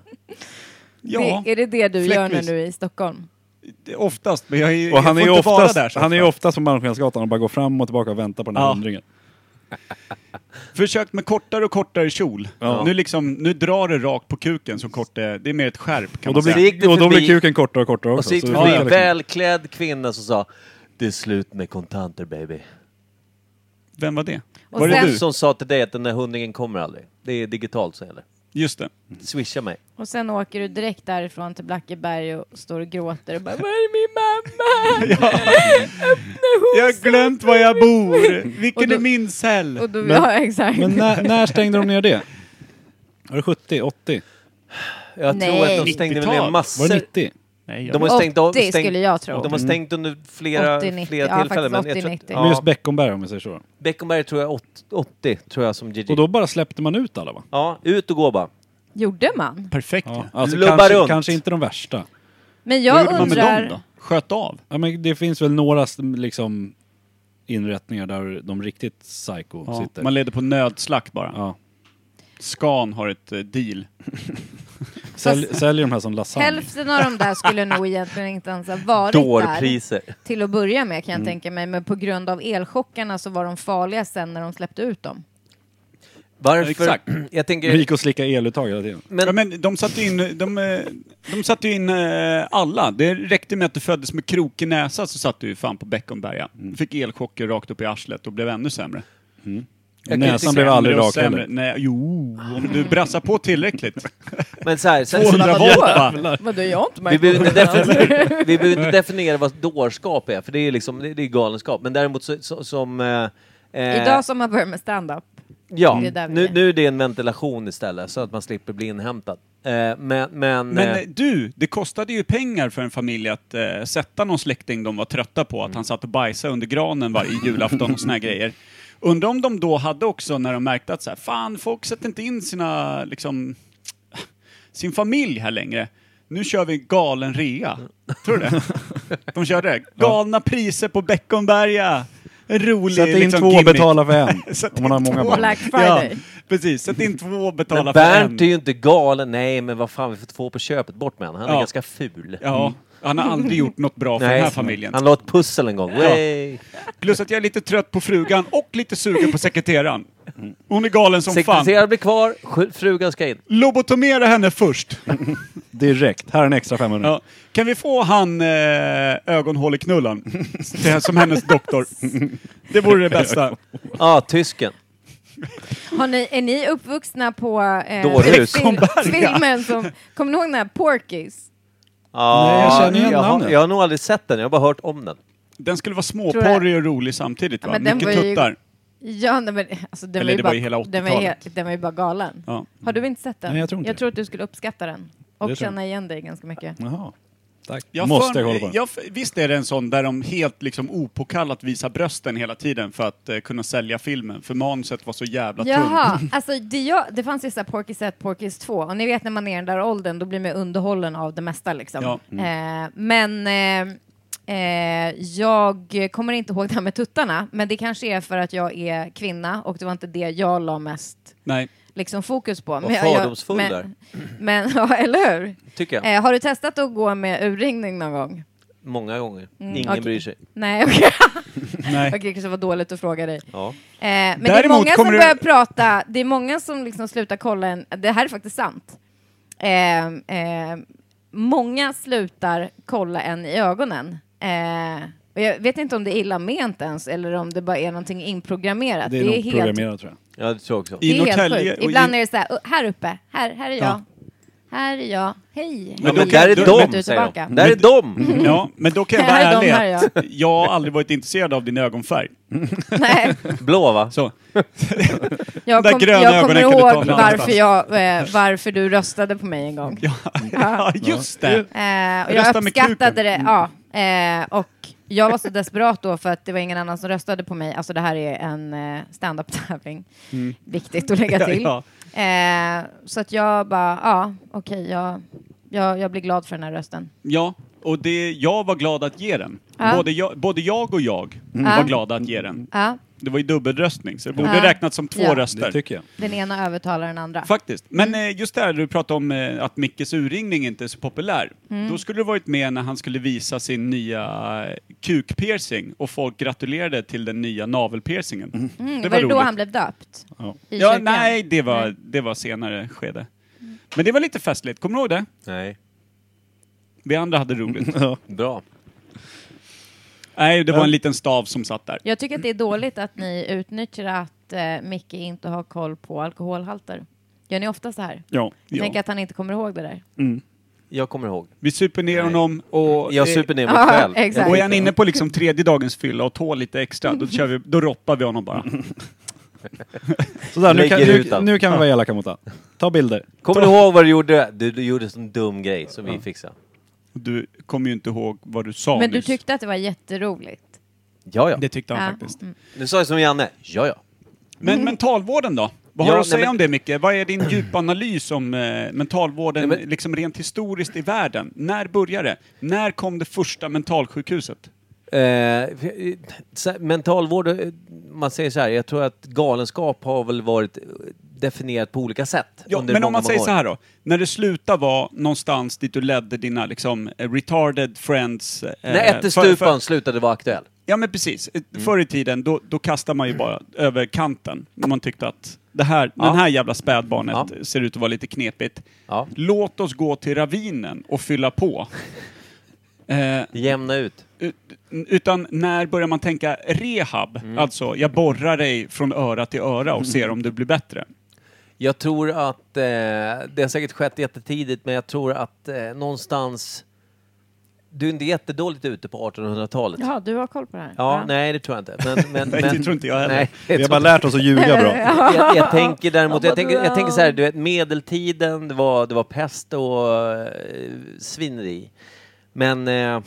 Ja,
Det, är det det du gör när
Fläckvis.
du är i Stockholm?
oftast. Men jag, är,
Och
jag
han är, ju
får inte
oftast,
vara där så
han är ju
ofta.
oftast på Malmskillnadsgatan och bara går fram och tillbaka och väntar på den här
Ja.
hundringen.
Försökt med kortare och kortare kjol.
Ja.
Nu, liksom, nu drar det rakt på kuken som kort är, det är mer ett skärp kan man
Och då blir-
säga.
gick det och då förbi- blir kuken kortare och kortare
Och
också,
så gick
så
det
det
förbi en
funkar liksom.
välklädd kvinna som sa Det är slut med kontanter baby.
Vem var det?
Och
var det
sen-
du som sa till dig att den där hundringen kommer aldrig? Det är digitalt så gäller.
Just det.
Swisha mig.
Och sen åker du direkt därifrån till Blackeberg och står och gråter och bara Var är min mamma?
Jag har glömt var jag bor!
Och
Vilken
då-
är min cell?
och då- Ja, exakt.
men när, när stängde de ner det? Var det 70, 80?
Jag tror att de stängde väl ner
90-tal.
massor.
Var det 90?
Nej,
de har stängt av,
80
stängt,
skulle jag tro.
De har stängt under flera,
80-90,
flera
ja,
tillfällen.
faktiskt
men jag tror,
80-90.
Men
ja,
just Beckomberga om vi säger så.
Beckomberg tror jag 80, 80 tror jag som Gigi.
Och då bara släppte man ut alla va?
Ja, ut och gå bara.
Gjorde man?
Perfekt
ja. alltså,
Lubba
kanske,
runt.
kanske inte de värsta.
Men jag undrar...
Sköt av?
Ja, men det finns väl några liksom, inrättningar där de riktigt psycho
Ja,
sitter.
Man leder på nödslakt bara.
Ja.
Scan har ett eh, deal.
Sälj, säljer de här som lasagne.
Hälften av de där skulle nog egentligen inte ens ha varit
Dårpriser.
där till att börja med kan jag
Mm.
tänka mig. Men på grund av elchockarna så var de farliga sen när de släppte ut dem.
Varför? Jag tänker...
De gick och slickade eluttag hela tiden.
Men,
ja, men de satte in, de, eh, de satte ju in eh, alla. Det räckte med att du föddes med krokig näsa så satt du ju fan på Beckomberga. Fick elchocker rakt upp i arslet och blev ännu sämre.
Jag kan Näsan inte- blev aldrig
Sämre och
rak
sämre.
heller.
Nej, jo, om du brassar på tillräckligt.
Men så här, sen,
200 volt va?
Vadå, jag har inte
vi
märkt
behöver inte,
något.
defini- vi behöver inte definiera vad dårskap är, för det är liksom, det det är galenskap. Men däremot så, så, som... Eh, eh,
Idag som man börjar med stand-up.
Ja,
Det är där vi
nu,
är.
nu är det en ventilation istället så att man slipper bli inhämtad. Eh, men men,
Men
eh,
eh, du, det kostade ju pengar för en familj att eh, sätta någon släkting de var trötta på, att han satt och bajsade under granen varje julafton och såna här grejer. Undrar om de då hade också, när de märkte att så här, fan, folk sätter inte in sina, liksom, sin familj här längre. Nu kör vi galen rea. Tror du det? De körde det. Galna priser på Beckomberga. En Rolig
Sätt in
liksom,
två och
gimmick.
betala för en,
Sätt
om man har
in
många
två.
barn.
Black Friday.
Ja, precis, sätt in två och betala
men
för en.
Bernt är ju inte galen. Nej, men vad fan, vi får två på köpet. Bort med honom. Han är
Ja.
ganska ful.
Ja, han har aldrig gjort något bra för
Nej,
den här familjen.
Han la ett pussel en gång. Way.
Plus att jag är lite trött på frugan och lite sugen på sekreteraren. Hon är galen som fan.
Sekreteraren blir kvar, sj- frugan ska in.
Lobotomera henne först.
Direkt. Här är en extra 500.
Ja. Kan vi få han eh, ögonhåleknullaren till- som hennes doktor? Det vore det bästa.
Ja, ah, tysken.
Har ni, är ni uppvuxna på eh,
Dårhus.
filmen som... Kommer ni ihåg den här Porkis?
Ah,
Nej, jag känner igen
jag, har,
namnet.
jag har nog aldrig sett den, jag har bara hört om den.
Den skulle vara
Tror
småporrig och rolig samtidigt va?
men den
Mycket
var ju-
tuttar.
Ja, nej, men alltså den
Eller
var ju
det
bara,
var ju hela
den, var ju,
80-talet.
helt- den var ju bara galen.
Ja.
Har du inte sett den?
Nej, jag tror inte
jag
det.
tror att du skulle uppskatta den.
Det
Och
tror jag.
känna igen dig ganska mycket.
Jaha. Tack.
Jag
Måste
för-
jag kolla på den.
jag för- Visst är det en sån där de helt liksom opåkallat visar brösten hela tiden för att eh, kunna sälja filmen? För manuset var så jävla
Jaha,
tunt.
alltså det, jag, det fanns ju så här Porkis 1, Porkis 2 och ni vet när man är i den där åldern då blir man underhållen av det mesta liksom.
Ja. Mm.
Eh, men eh, eh, jag kommer inte ihåg det här med tuttarna men det kanske är för att jag är kvinna och det var inte det jag la mest
Nej.
liksom fokus på.
Vad
jag- jag-
fördomsfull
men,
där.
Men ja, eller hur?
Tycker jag.
Eh, har du testat att gå med urringning någon gång?
Många gånger.
Mm,
Ingen
okej.
bryr sig.
Nej, okej.
Nej.
Okej, det kanske var dåligt att fråga dig.
Ja.
Eh, men det är
Däremot
många som
kommer du-
börjar prata, det är många som liksom slutar kolla en, det här är faktiskt sant. Eh, eh, många slutar kolla en i ögonen eh, Och jag vet inte om det är illa ment ens eller om det bara är någonting inprogrammerat.
Det är, nog programmerat tror
jag. Ja, det tror jag också.
Det är helt sjukt. Ibland är det så här, "Åh, här uppe, här, här är jag.
Ja.
Här är jag, hej.
Men då- där är
Du
de,
är
säger
tillbaka.
de. Där är
de!
Ja, men då kan jag vara
Här är
ärlig
de, här är
att jag har aldrig varit intresserad av din ögonfärg.
Nej.
Blå va?
Så.
Jag,
Där
kom,
gröna
jag kommer
ögonen kunde ta
ihåg
mig någonstans.
varför, jag, eh, varför du röstade på mig en gång. Ja,
Ja, just det.
Eh, och jag
Rösta med Mm.
uppskattade det. Ja, eh, och jag var så desperat då för att det var ingen annan som röstade på mig. Alltså det här är en eh, stand-up-tävling.
Mm.
Viktigt att lägga
Ja,
till.
ja.
Eh, så att jag bara, ja, okej, jag, jag, jag blir glad för den här rösten.
Ja, och det, jag var glad att ge den.
Ja.
Både, jag, både jag och jag
Mm. Ja.
var glada att ge den.
Ja,
Det var ju dubbelröstning, så det borde
Ja.
räknats som två
Ja.
röster.
Det
tycker jag.
den ena övertalar den andra.
Faktiskt. Men eh, just det här du pratade om eh, att Mickes urringning inte är så populär.
Mm.
Då skulle du varit med när han skulle visa sin nya eh, kukpiercing och folk gratulerade till den nya navelpiercingen.
Mm, var det då han blev döpt?
Ja,
i
ja
kyrkan?
nej, det var, det var senare skede. Men det var lite festligt, kommer du ihåg det?
Nej.
Vi andra hade roligt.
Bra.
Nej, det var en liten stav som satt där.
Jag tycker att det är dåligt att ni utnyttjar att eh, Micke inte har koll på alkoholhalter. Gör ni ofta så här?
Ja.
Jag
Ja.
tänker att han inte kommer ihåg det där.
Jag kommer ihåg.
Vi super ner honom och...
Jag super ner mig
Ja, själv. exakt.
Och är han inne på liksom tredje dagens fylla och tål lite extra, då, kör vi, då roppar vi honom bara.
Sådär, nu, kan,
Lägger
nu,
ut allt.
nu kan vi vara elaka mot honom. Ta bilder.
Kommer
Ta-
du ihåg vad du gjorde? Du, du gjorde en sån dum grej som vi fixade.
Du kommer ju inte ihåg vad du sa
Men du tyckte att det var jätteroligt.
Ja, ja.
Det tyckte
han Ja. Mm.
faktiskt.
Nu sa jag som Janne. Ja, ja.
Men mentalvården då? Vad har
Ja,
du att
nej,
säga
men-
om det Micke? Vad är din djupanalys om eh, mentalvården
Nej,
liksom rent historiskt i världen? När började det? När kom det första mentalsjukhuset?
Eh, för- så här, mentalvård, eh, man säger så här, jag tror att galenskap har väl varit eh, definierat på olika sätt.
Ja,
under
men om
många,
man säger
många år.
så här då. När det slutade vara någonstans dit du ledde dina liksom eh, retarded friends... eh,
När ättestupan slutade vara aktuell.
Ja men precis. Eh,
Mm.
Förr i tiden då, då kastade man ju bara över kanten. När man tyckte att det här, den här jävla spädbarnet ser ut att vara lite knepigt. Låt oss gå till ravinen och fylla på. Eh,
Jämna ut.
Utan när börjar man tänka rehab?
Mm.
Alltså, jag borrar dig från öra till öra och ser om du blir bättre.
Jag tror att eh, det har säkert skett jättetidigt, men jag tror att eh, någonstans... Du är inte jättedåligt ute på 1800-talet.
Jaha, du har koll på det här?
Ja, nej det tror jag inte. Men, men,
Nej,
men,
det tror inte jag heller.
Vi har bara lärt oss att ljuga bra.
jag, jag tänker däremot,
Ja,
jag tänker, jag
bra.
tänker så här, du vet medeltiden, det var, det var pest och eh, svineri. Men eh,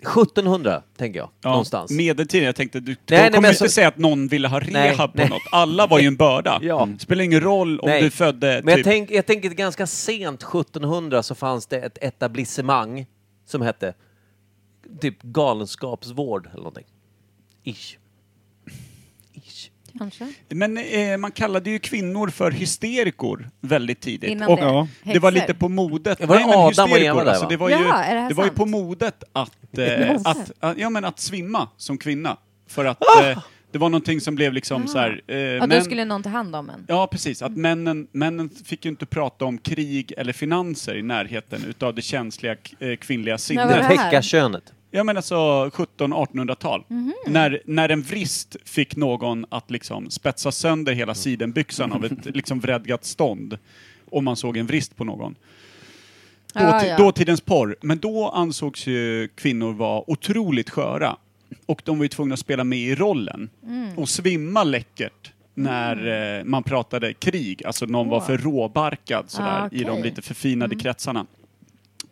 1700 tänker jag,
Ja,
någonstans.
Medeltiden, jag tänkte du
Nej, nej,
kommer
men
inte
så-
säga att någon ville ha
Nej,
rehab på
nej.
något. Alla var ju en börda. Mm.
Ja.
Spelar ingen roll om
Nej.
du födde
Men jag,
typ...
tänk, jag tänker att ganska sent 1700 så fanns det ett etablissemang som hette typ galenskapsvård eller någonting. Ish.
Kanske.
Men eh, man kallade ju kvinnor för hysterikor väldigt tidigt.
Innan
och
det. Ja.
det var
Häxor.
lite på modet.
Det var
men
Adam och
hysterikor,
Eva där,
alltså,
va?
det var, ju,
Jaha, är
det
det här
var ju
sant?
på modet att, eh,
Modet.
att, att, ja, men att svimma som kvinna. För att
Ah!
eh, det var någonting som blev liksom så här... Eh,
Ja, då
män-
skulle någon ta hand om en.
Ja, precis. Att männen, männen fick ju inte prata om krig eller finanser i närheten utav det känsliga k- eh, kvinnliga
När
sinnet.
var det här? Täckarkönet.
Ja, men alltså 1700-1800-tal.
Mhm.
När, när en vrist fick någon att liksom spetsa sönder hela sidenbyxan av ett liksom vredgat stånd. Om man såg en vrist på någon. Då,
Ja, ja.
Dåtidens porr. Men då ansågs ju kvinnor vara otroligt sköra. Och de var ju tvungna att spela med i rollen.
Mm.
Och svimma läckert när eh, man pratade krig. Alltså någon var
Åh.
för råbarkad sådär,
Ah, okej.
i de lite förfinade kretsarna.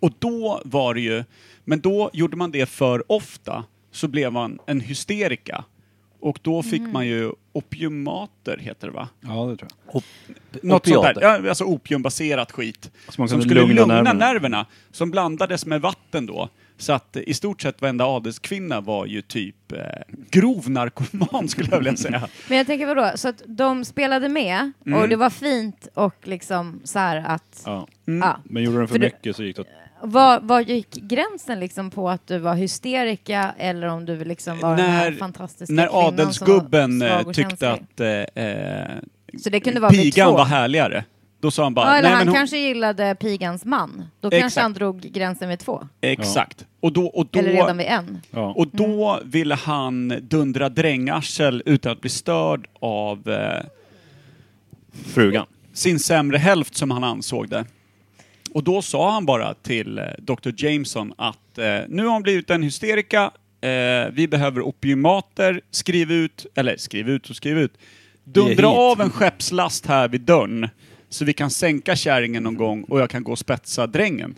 Och då var det ju, men då gjorde man det för ofta, så blev man en hysterika. Och då fick
Mm.
man ju opiumater, heter det va?
Ja, det tror
jag.
Något sånt
opiater.
där, ja, alltså opiumbaserat skit.
Som man
som
kunde
skulle lugna,
lugna
nerverna.
nerverna.
som blandades med vatten då. Så att eh, i stort sett varenda adelskvinna var ju typ eh, grov narkoman skulle jag vilja säga.
Men jag tänker vadå, så att de spelade med och
Mm.
det var fint och liksom så här att...
Ja.
Mm.
Ja.
Men gjorde den för,
För du-
mycket så gick det åt...
Var, var gick gränsen liksom på att du var hysterika eller om du liksom var den här fantastiska kvinnan
när
som var
adelsgubben eh,
svag och
tyckte
känslig?
att eh, eh,
Så det kunde vara vid
pigan
två.
var härligare, då Då sa han bara...
ja, eller
nej,
han
men hon...
kanske gillade pigans man. Då
Exakt.
kanske han drog gränsen vid två.
Exakt. Och då, och då,
Eller redan vid Mm. en.
Och då ville han dundra drängarsel utan att bli störd av eh,
Frugan.
sin sämre hälft som han ansåg det. Och då sa han bara till eh, Dr. Jameson att eh, nu har hon blivit en hysterika, eh, vi behöver opiumater, skriv ut, eller skriv ut och skriv ut.
Ge hit.
Dundra av en skeppslast här vid dörren så vi kan sänka kärringen någon gång och jag kan gå och spetsa drängen.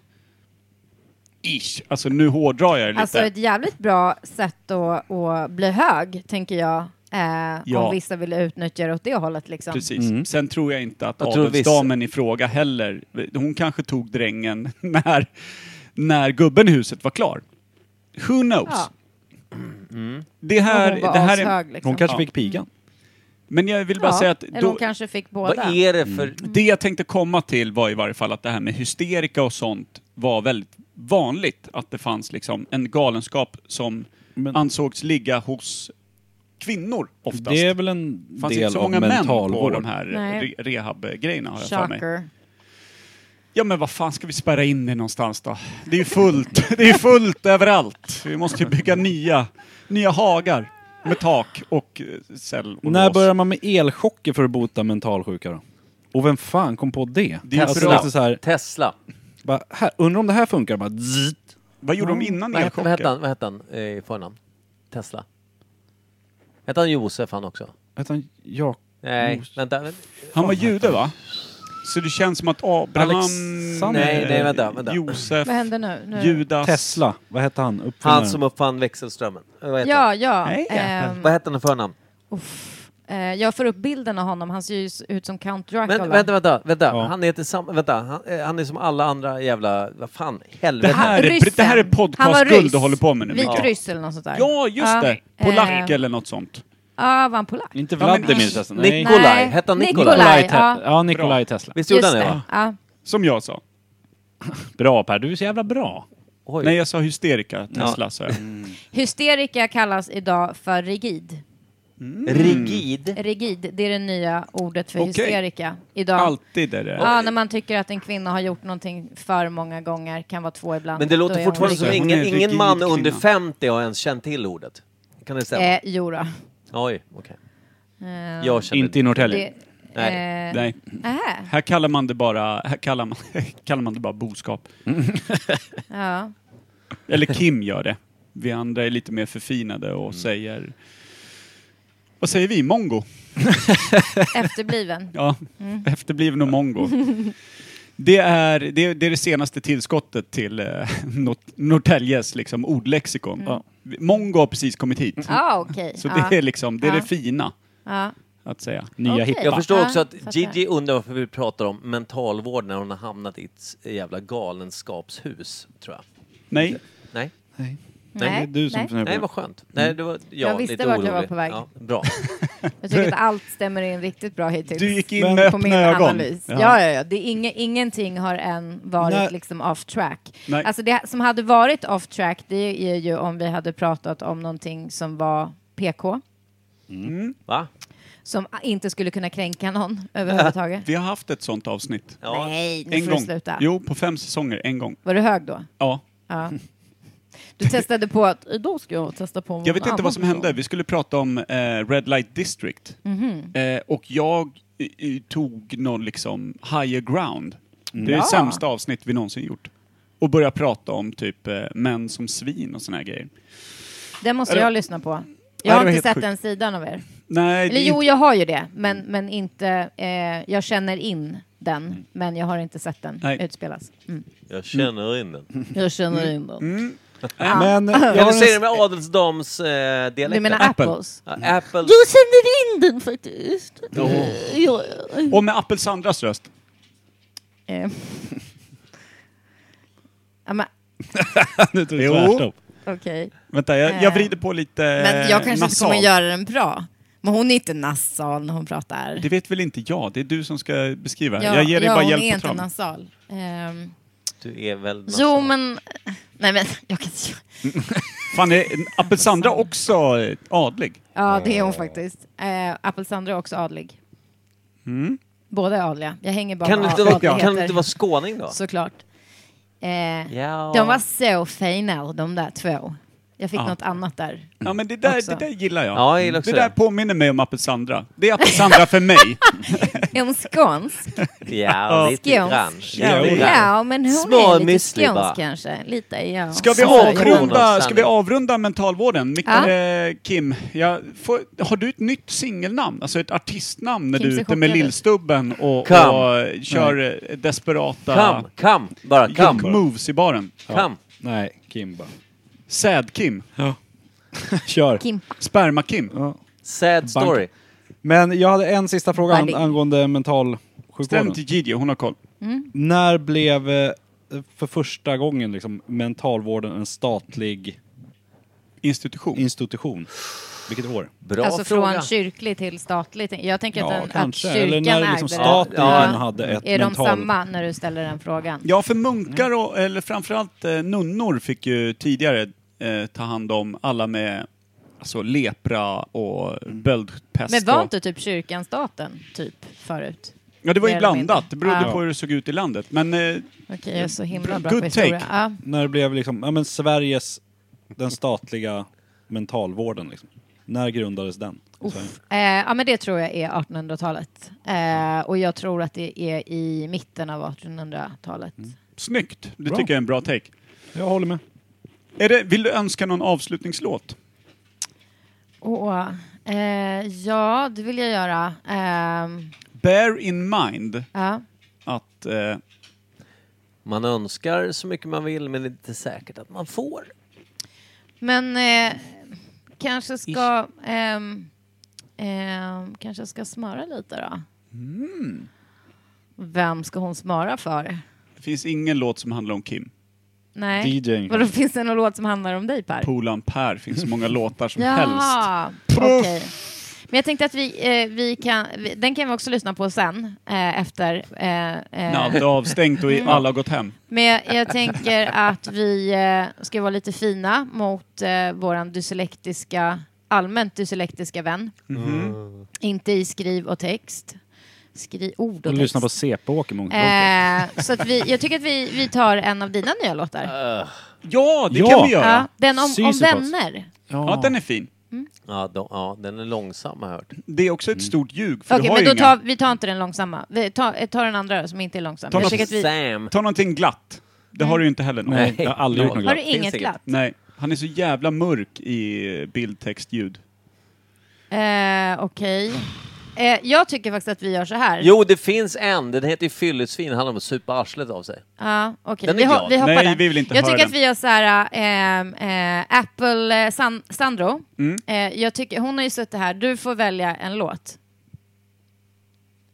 Ish. Alltså nu hårdrar jag det lite.
Alltså ett jävligt bra sätt att, att bli hög, tänker jag. Eh,
Ja.
Om vissa vill utnyttja det åt det hållet. Liksom.
Precis.
Mm.
Sen tror jag inte att
Jag tror
adelsdamen i fråga heller, hon kanske tog drängen när, när gubben i huset var klar. Who knows?
Ja.
Det här,
Hon var
det här är,
ashög, liksom. Hon kanske fick
pigan.
Men jag vill bara
Ja,
säga att...
eller
då-
hon kanske fick båda.
Mm. Det jag tänkte komma till var i varje fall att det här med hysterika och sånt var väldigt vanligt. Att det fanns liksom en galenskap som ansågs ligga hos kvinnor oftast.
Det är väl en
fanns
del
inte så
av
många män på
mentalvården.
de här
Nej.
re- rehab-grejerna har jag för mig.
Shocker.
Ja men vad fan ska vi spärra in det någonstans då? Det är ju fullt, det är fullt överallt. Vi måste ju bygga nya, nya hagar med tak och eh, cell och
När
lås.
börjar man med elchocker för att bota mentalsjuka då? Och vem fan kom på det? Alltså,
Det är bra.
Tesla.
Bara, här, undrar om det här funkar? Bara, zzz.
Vad gjorde de
Mm.
innan
Vad hette- vad hette
elchocker?
han, vad hette han eh, i förnamn? Tesla. Hette han Josef han också?
Hette han Jak...
Nej, vänta.
Han var jude va? Så det känns som att Abraham,
Alexander- Nej, nej, vänta, vänta.
Josef,
Vad händer nu? nu?
Judas...
Tesla, vad hette han? Uppfinnaren.
Han som uppfann växelströmmen. Eh, Vad heter
Ja,
han?
ja. Nej, ehm.
Vad hette han i förnamn?
Eh, jag får upp bilden av honom. Han ser ju s- ut som Count Dracula.
Men, vänta, vänta, vänta. Han heter sam... Vänta, han, eh, han är som alla andra jävla... Vad fan, helvete.
Det här är- Ryssen. det här är podcast-
Han var
Guld
ryss.
du håller på med nu,
Vit
Mikael.
ryss eller något sånt där.
Ja, just
Ja.
det! Polack
Eh.
eller något sånt.
Ja, var han polack?
Inte
Ja, men
Vladimir
ish.
Tesla.
Nikolaj. Nej.
Hette han Nikolaj?
Nikolaj, Nikolaj Te- ja.
ja, Nikolaj Tesla.
Visst gjorde
Just
han det?
det.
va?
Ja.
Som jag sa.
Bra Per, du är så jävla bra.
Oj.
Nej, jag sa hysterika Tesla sa jag.
Hysterika kallas idag för rigid. Mm.
Rigid?
Rigid, det är det nya ordet för
Okej.
hysterika idag.
Alltid är det.
Ja, när man tycker att en kvinna har gjort någonting för många gånger, kan vara två ibland.
Men det
då är
låter
hon
fortfarande som
rigid.
ingen,
rigid
ingen man
kvinna.
under 50 har ens känt till ordet. Kan det stämma?
Eh, jo då.
Oj, okej.
Eh,
Jag känner
Inte i Norrtälje.
det-
Nej.
eh,
Nej.
Nähä.
Här kallar man det bara, här kallar man, kallar man det bara boskap.
Ja.
Eller Kim gör det. Vi andra är lite mer förfinade och säger... Vad säger vi? Mongo?
Efterbliven.
Ja,
Mm.
efterbliven och mongo. Det är, det, är- det är det senaste tillskottet till eh, Nort- Norrtäljes liksom, ordlexikon. Ja. Mongo har precis kommit hit.
Mm. Ja, Ah, okej.
Så
Ja.
det är, liksom, det, är
Ja.
det fina
Ja.
att säga.
Nya
Okej.
hippa.
Jag förstår
Ja,
också att
fattar.
Gigi undrar varför vi pratar om mentalvård när hon har hamnat i ett jävla galenskapshus, tror jag.
Nej,
Nej?
Nej.
Nej.
Det är du som
Nej.
funderar på
Nej,
det.
vad skönt. Nej, det var jag,
Jag visste
lite
vart jag
orolig.
var på väg.
Ja, bra.
Jag tycker att allt stämmer in riktigt bra hittills.
Du gick in med
på
öppna
min
ögon.
analys.
Ja.
Ja, ja, ja. Det är inge, ingenting har än varit
Nej.
liksom off track.
Nej.
Alltså det som hade varit off track, det är ju om vi hade pratat om någonting som var PK,
Va?
som inte skulle kunna kränka någon överhuvudtaget.
vi har haft ett sånt avsnitt.
Ja.
Nej, nu
En
får
gång.
du sluta.
Jo, på fem säsonger. En gång.
Var du hög då?
Ja.
Ja. Du testade på att då ska jag testa på
Jag vet
någon
inte vad som
annan
hände.
person.
Vi skulle prata om eh, Red Light District.
Mhm.
Eh, och jag i, i, tog någon liksom higher ground. Det är det sämsta avsnitt vi någonsin gjort. Och börja prata om typ eh, män som svin och såna här grejer.
Den måste
Eller-
jag lyssna på.
det
Jag har
var
inte
helt
sett
sjukt.
den sidan av er.
Nej,
Eller
det,
jo, jag har ju det, men, men inte... Eh, jag känner in den, men jag har inte sett den
Mm. Nej.
utspelas. Mm.
Jag känner in den.
Jag känner in den.
Mm.
Men eh, jag
Kan
har
du säga det
en,
med adelsdams eh, dialekt?
Du menar
Apple.
apples?
Ja, Apple.
Jag känner in den faktiskt. Eh, Ja,
och med Appelsandras röst.
Eh. ja, men,
nu tog det
Jo.
tvärstopp.
okej.
Vänta, jag, jag vrider på lite
Eh. Men jag kanske inte
Eh, nasal.
kommer göra den bra. Men hon är inte nasal när hon pratar.
Det vet väl inte jag? Det är du som ska beskriva. jag ger dig
ja,
bara
hon
hjälp
är
på
inte
traven.
nasal. Ehm,
Du är väl...
jo, men... Nej, men jag kan
Fan, är Appelsandra också eh, adlig?
Mm.
Ja, det är hon faktiskt. Eh, Appelsandra är också adlig. Båda är adliga. Jag hänger bara
Kan
med
det inte
ad-
vara- kan
adligheter.
det inte vara skåning då?
Såklart. Eh,
Ja.
De var så fina de där två. Jag fick
Ja.
något annat där.
Ja, men det där,
också.
det där gillar jag.
Ja, jag gillar också
det där
det.
påminner mig om Apelsandra. Det är Apelsandra för mig.
En skånsk.
Ja, lite
Skånsk.
grann.
Ja,
Lite grann.
ja, men hon är lite
Småmyslig
skånsk
bara.
kanske. Lite, ja.
Ska vi,
Så-
avrunda, ska vi avrunda mentalvården? Mik-
Ja.
eh, Kim, jag får, har du ett nytt singelnamn? Alltså ett artistnamn när
Kim
du är
ser
ute med
chockad ut.
Lillstubben och, och
Come.
kör
Nej.
eh, desperata...
Come, come, bara come.
Junk moves i baren.
Ja. Come.
Nej, Kim bara. Sad Kim.
Kör.
Kim.
Sperma Kim.
Sad
Bank. Men jag hade en sista fråga an
Varning.
angående mental
Ställ
sjukvården.
den till Gigi, hon har koll.
Mm.
När blev eh, för första gången liksom, mentalvården en statlig
institution?
institution? Vilket år?
Bra
alltså från kyrklig till statlig. tänk- Jag tänker
Ja,
att, den,
kanske.
att
Eller när
kyrkan
liksom
ägde det.
staten
Ja.
hade ett
Är
mental-
de samma när du ställer den frågan?
Ja, för munkar och, eller framförallt eh, nunnor fick ju tidigare eh, ta hand om alla med alltså, lepra och böldpest.
Men var
och-
inte typ kyrkan staten, typ, förut?
Ja, det var ju
Mer eller mindre.
blandat. Det berodde
Ja.
på hur det såg ut i landet. Men... Eh,
Okej, jag är så himla bra
Good
på historia.
take.
Ja.
När det blev liksom, ja men Sveriges, den statliga mentalvården liksom. När grundades den? i Sverige?
Eh, ja, men det tror jag är 1800-talet. Eh, och jag tror att det är i mitten av 1800-talet.
Mm. Snyggt! Det
Bra.
tycker jag är en bra take.
Jag håller med.
Är det, vill du önska någon avslutningslåt?
Åh, eh, ja, det vill jag göra. Ehm,
Bear in mind
ja.
att... Eh,
Man önskar så mycket man vill men det är inte säkert att man får.
Men eh, kanske ska... ehm, ehm, kanske ska smöra lite då.
mm,
Vem ska hon smöra för?
det finns ingen låt som handlar om Kim.
Nej.
DJing.
Vadå, finns det någon låt som handlar om dig Per?
Polan Per finns så många låtar som helst.
Jaha, okej. Men jag tänkte att vi, eh, vi kan, vi, den kan vi också lyssna på sen, eh, efter. Eh, eh.
När allt är avstängt
Mm.
och i- alla har gått hem.
Men jag, jag tänker att vi eh, ska vara lite fina mot eh, våran dyslektiska, allmänt dyslektiska vän.
Mhm.
Inte i skriv och text. Skri, ord och
Och
text.
lyssna på CP-Åke många
Eh, så att vi, jag tycker att vi, vi tar en av dina nya låtar.
Ja,
det kan vi göra.
Ja, den om, om
Sisyfos.
vänner.
Ja.
Ja, den är fin.
Ja, de, ja den är långsam har jag hört.
Det är också ett stort ljug
Okej, men då tar, vi tar inte den långsamma. Vi tar, tar den andra då, som inte är långsam.
Ta,
Jag
något,
tycker att vi,
ta någonting glatt. Det har du ju inte heller någon.
Nej, jag har aldrig gjort något
Har du glatt. inget Finns inget. glatt?
Nej, han är så jävla mörk i bild, text, ljud.
Eh, Okej. Eh, jag tycker faktiskt att vi gör så här.
Jo, det finns en. Den heter ju Fyllesvin. handlar om att supa arslet av sig.
Ja, okej.
Den är
Vi, ho-
glad.
vi hoppar
Nej,
den.
vi vill inte
jag
höra
tycker
den.
att vi gör så här, ehm, eh, Apple eh, San- Sandro.
Mm.
Eh, jag tycker, hon har ju suttit här, du får välja en låt.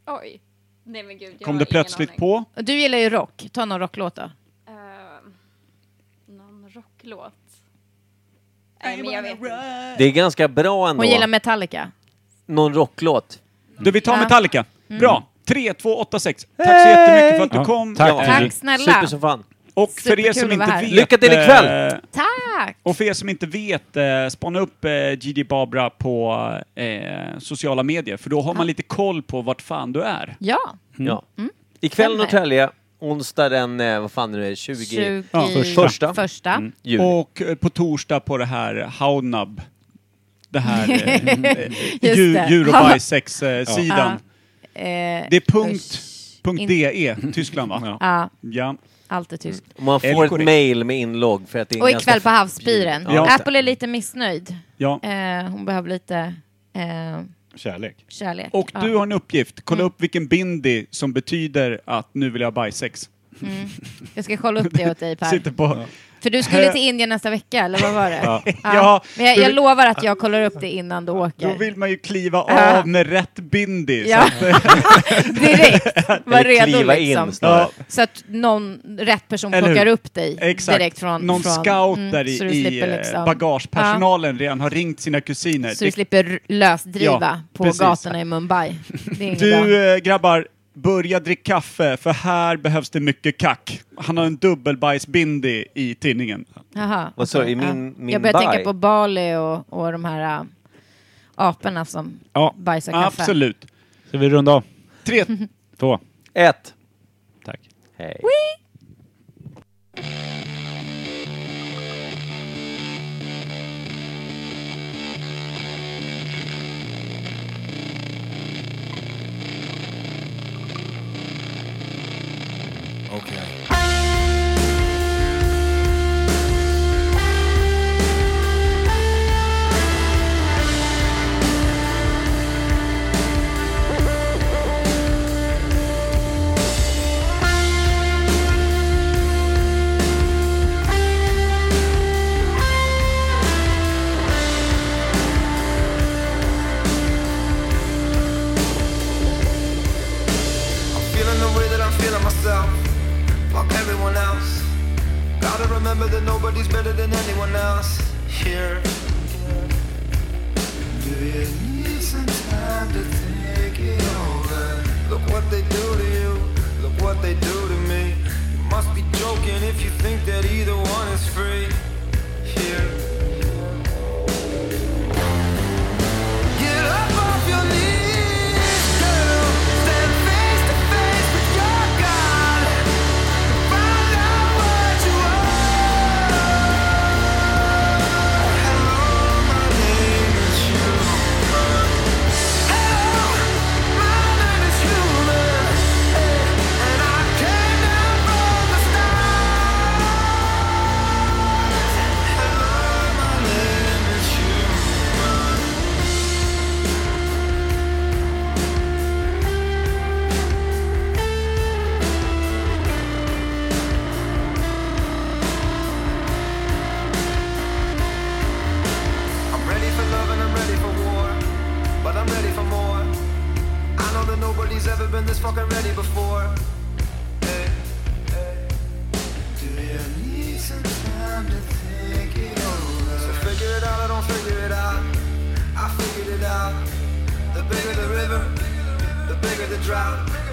Oj. Nej men gud. jag
Kom
har
det
ingen
plötsligt
aning.
på?
Du gillar ju rock, ta någon rocklåt då.
Ehm, någon rocklåt? Nej men jag vet inte.
Det är ganska bra ändå.
Hon gillar Metallica.
Någon rocklåt.
Du, vi tar
Ja.
Metallica. Bra! 3, 2, 8, 6. Tack så jättemycket för att du
Ja,
kom.
tack,
Eh,
Gigi. Tack snälla. Super som fan.
Och för er
Superkul
som
att vara
inte
här.
vet...
Lycka till ikväll.
eh,
Tack!
Och för er som inte vet, eh, spana upp eh, Gigi Babra på eh, sociala medier, för då har man lite koll på vart fan du är.
Ja.
Ja.
Mm.
Ikväll
Stämmer.
Norrtälje, onsdag den, eh, vad fan är det, 20...
Ja.
Första. Mm. Juli.
Och eh, på torsdag på det här Hownub. Det här eh, eh,
Just
djur,
det.
djur och eh, bajsex-sidan.
Ja. Eh,
Det är punkt, punkt
In-
DE, Tyskland va?
Ja.
ja.
Allt är tyskt.
Och Man
Eller
får ett
korrekt.
mail med inlogg för att det är
Och
ganska-
ikväll på havspiren.
Ja.
Apple är lite missnöjd.
Ja.
Eh, hon behöver lite eh,
Kärlek.
kärlek.
Och
Ja. Mm.
du har en uppgift, kolla upp vilken bindi som betyder att nu vill jag ha bajsex.
Mm. Jag ska kolla upp det åt dig Per.
Sitter på...
För du skulle till Indien nästa vecka, eller vad var det?
Ja.
Men jag,
Du
jag
vill-
lovar att jag kollar upp det innan du åker.
Då vill man ju kliva
Ja.
av med rätt bindi.
Ja.
Så att,
Direkt. Var
Eller
redo
kliva in
liksom.
snarare.
Så att någon rätt person
Eller hur?
plockar upp dig
Exakt.
direkt från...
Någon
från,
scout
mm,
där i,
så du
i
slipper
eh,
liksom-
bagagepersonalen redan har ringt sina kusiner.
Ja, så du
Det-
slipper r- lösdriva
Ja,
på
precis.
gatorna i Mumbai. Det är inget bra.
Du eh, grabbar, börja dricka kaffe för här behövs det mycket kack. Han har en dubbelbajsbindi i tidningen.
Jaha,
Vad sa du,
okej,
i min- min
Jag börjar
Mumbai?
tänka på Bali och, och de här äh, aporna som bajsar kaffe.
Absolut.
Ska vi runda av?
Tre,
Två.
Ett.
Tack.
Hej.
Okay.
I'm feeling the way that I'm feeling myself. Fuck everyone else. Gotta remember that nobody's better than anyone else. Here. Do you need some time to take it over? Look what they do to you. Look what they do to me. You must be joking if you think that either one is free. Here. Get up off your knees, girl. Stand face to face with your God. Find out what you are. Hello, my name is human. Hello, my name is human. And I came down from the stars. Hello, my name is human. I'm ready for love and I'm ready for war, but I'm ready for more. I know that nobody's ever been this fucking ready before. Hey, hey. Do you need some time to think it over? So figure it out, I don't figure it out. I figured it out. The bigger the river, the bigger the drought.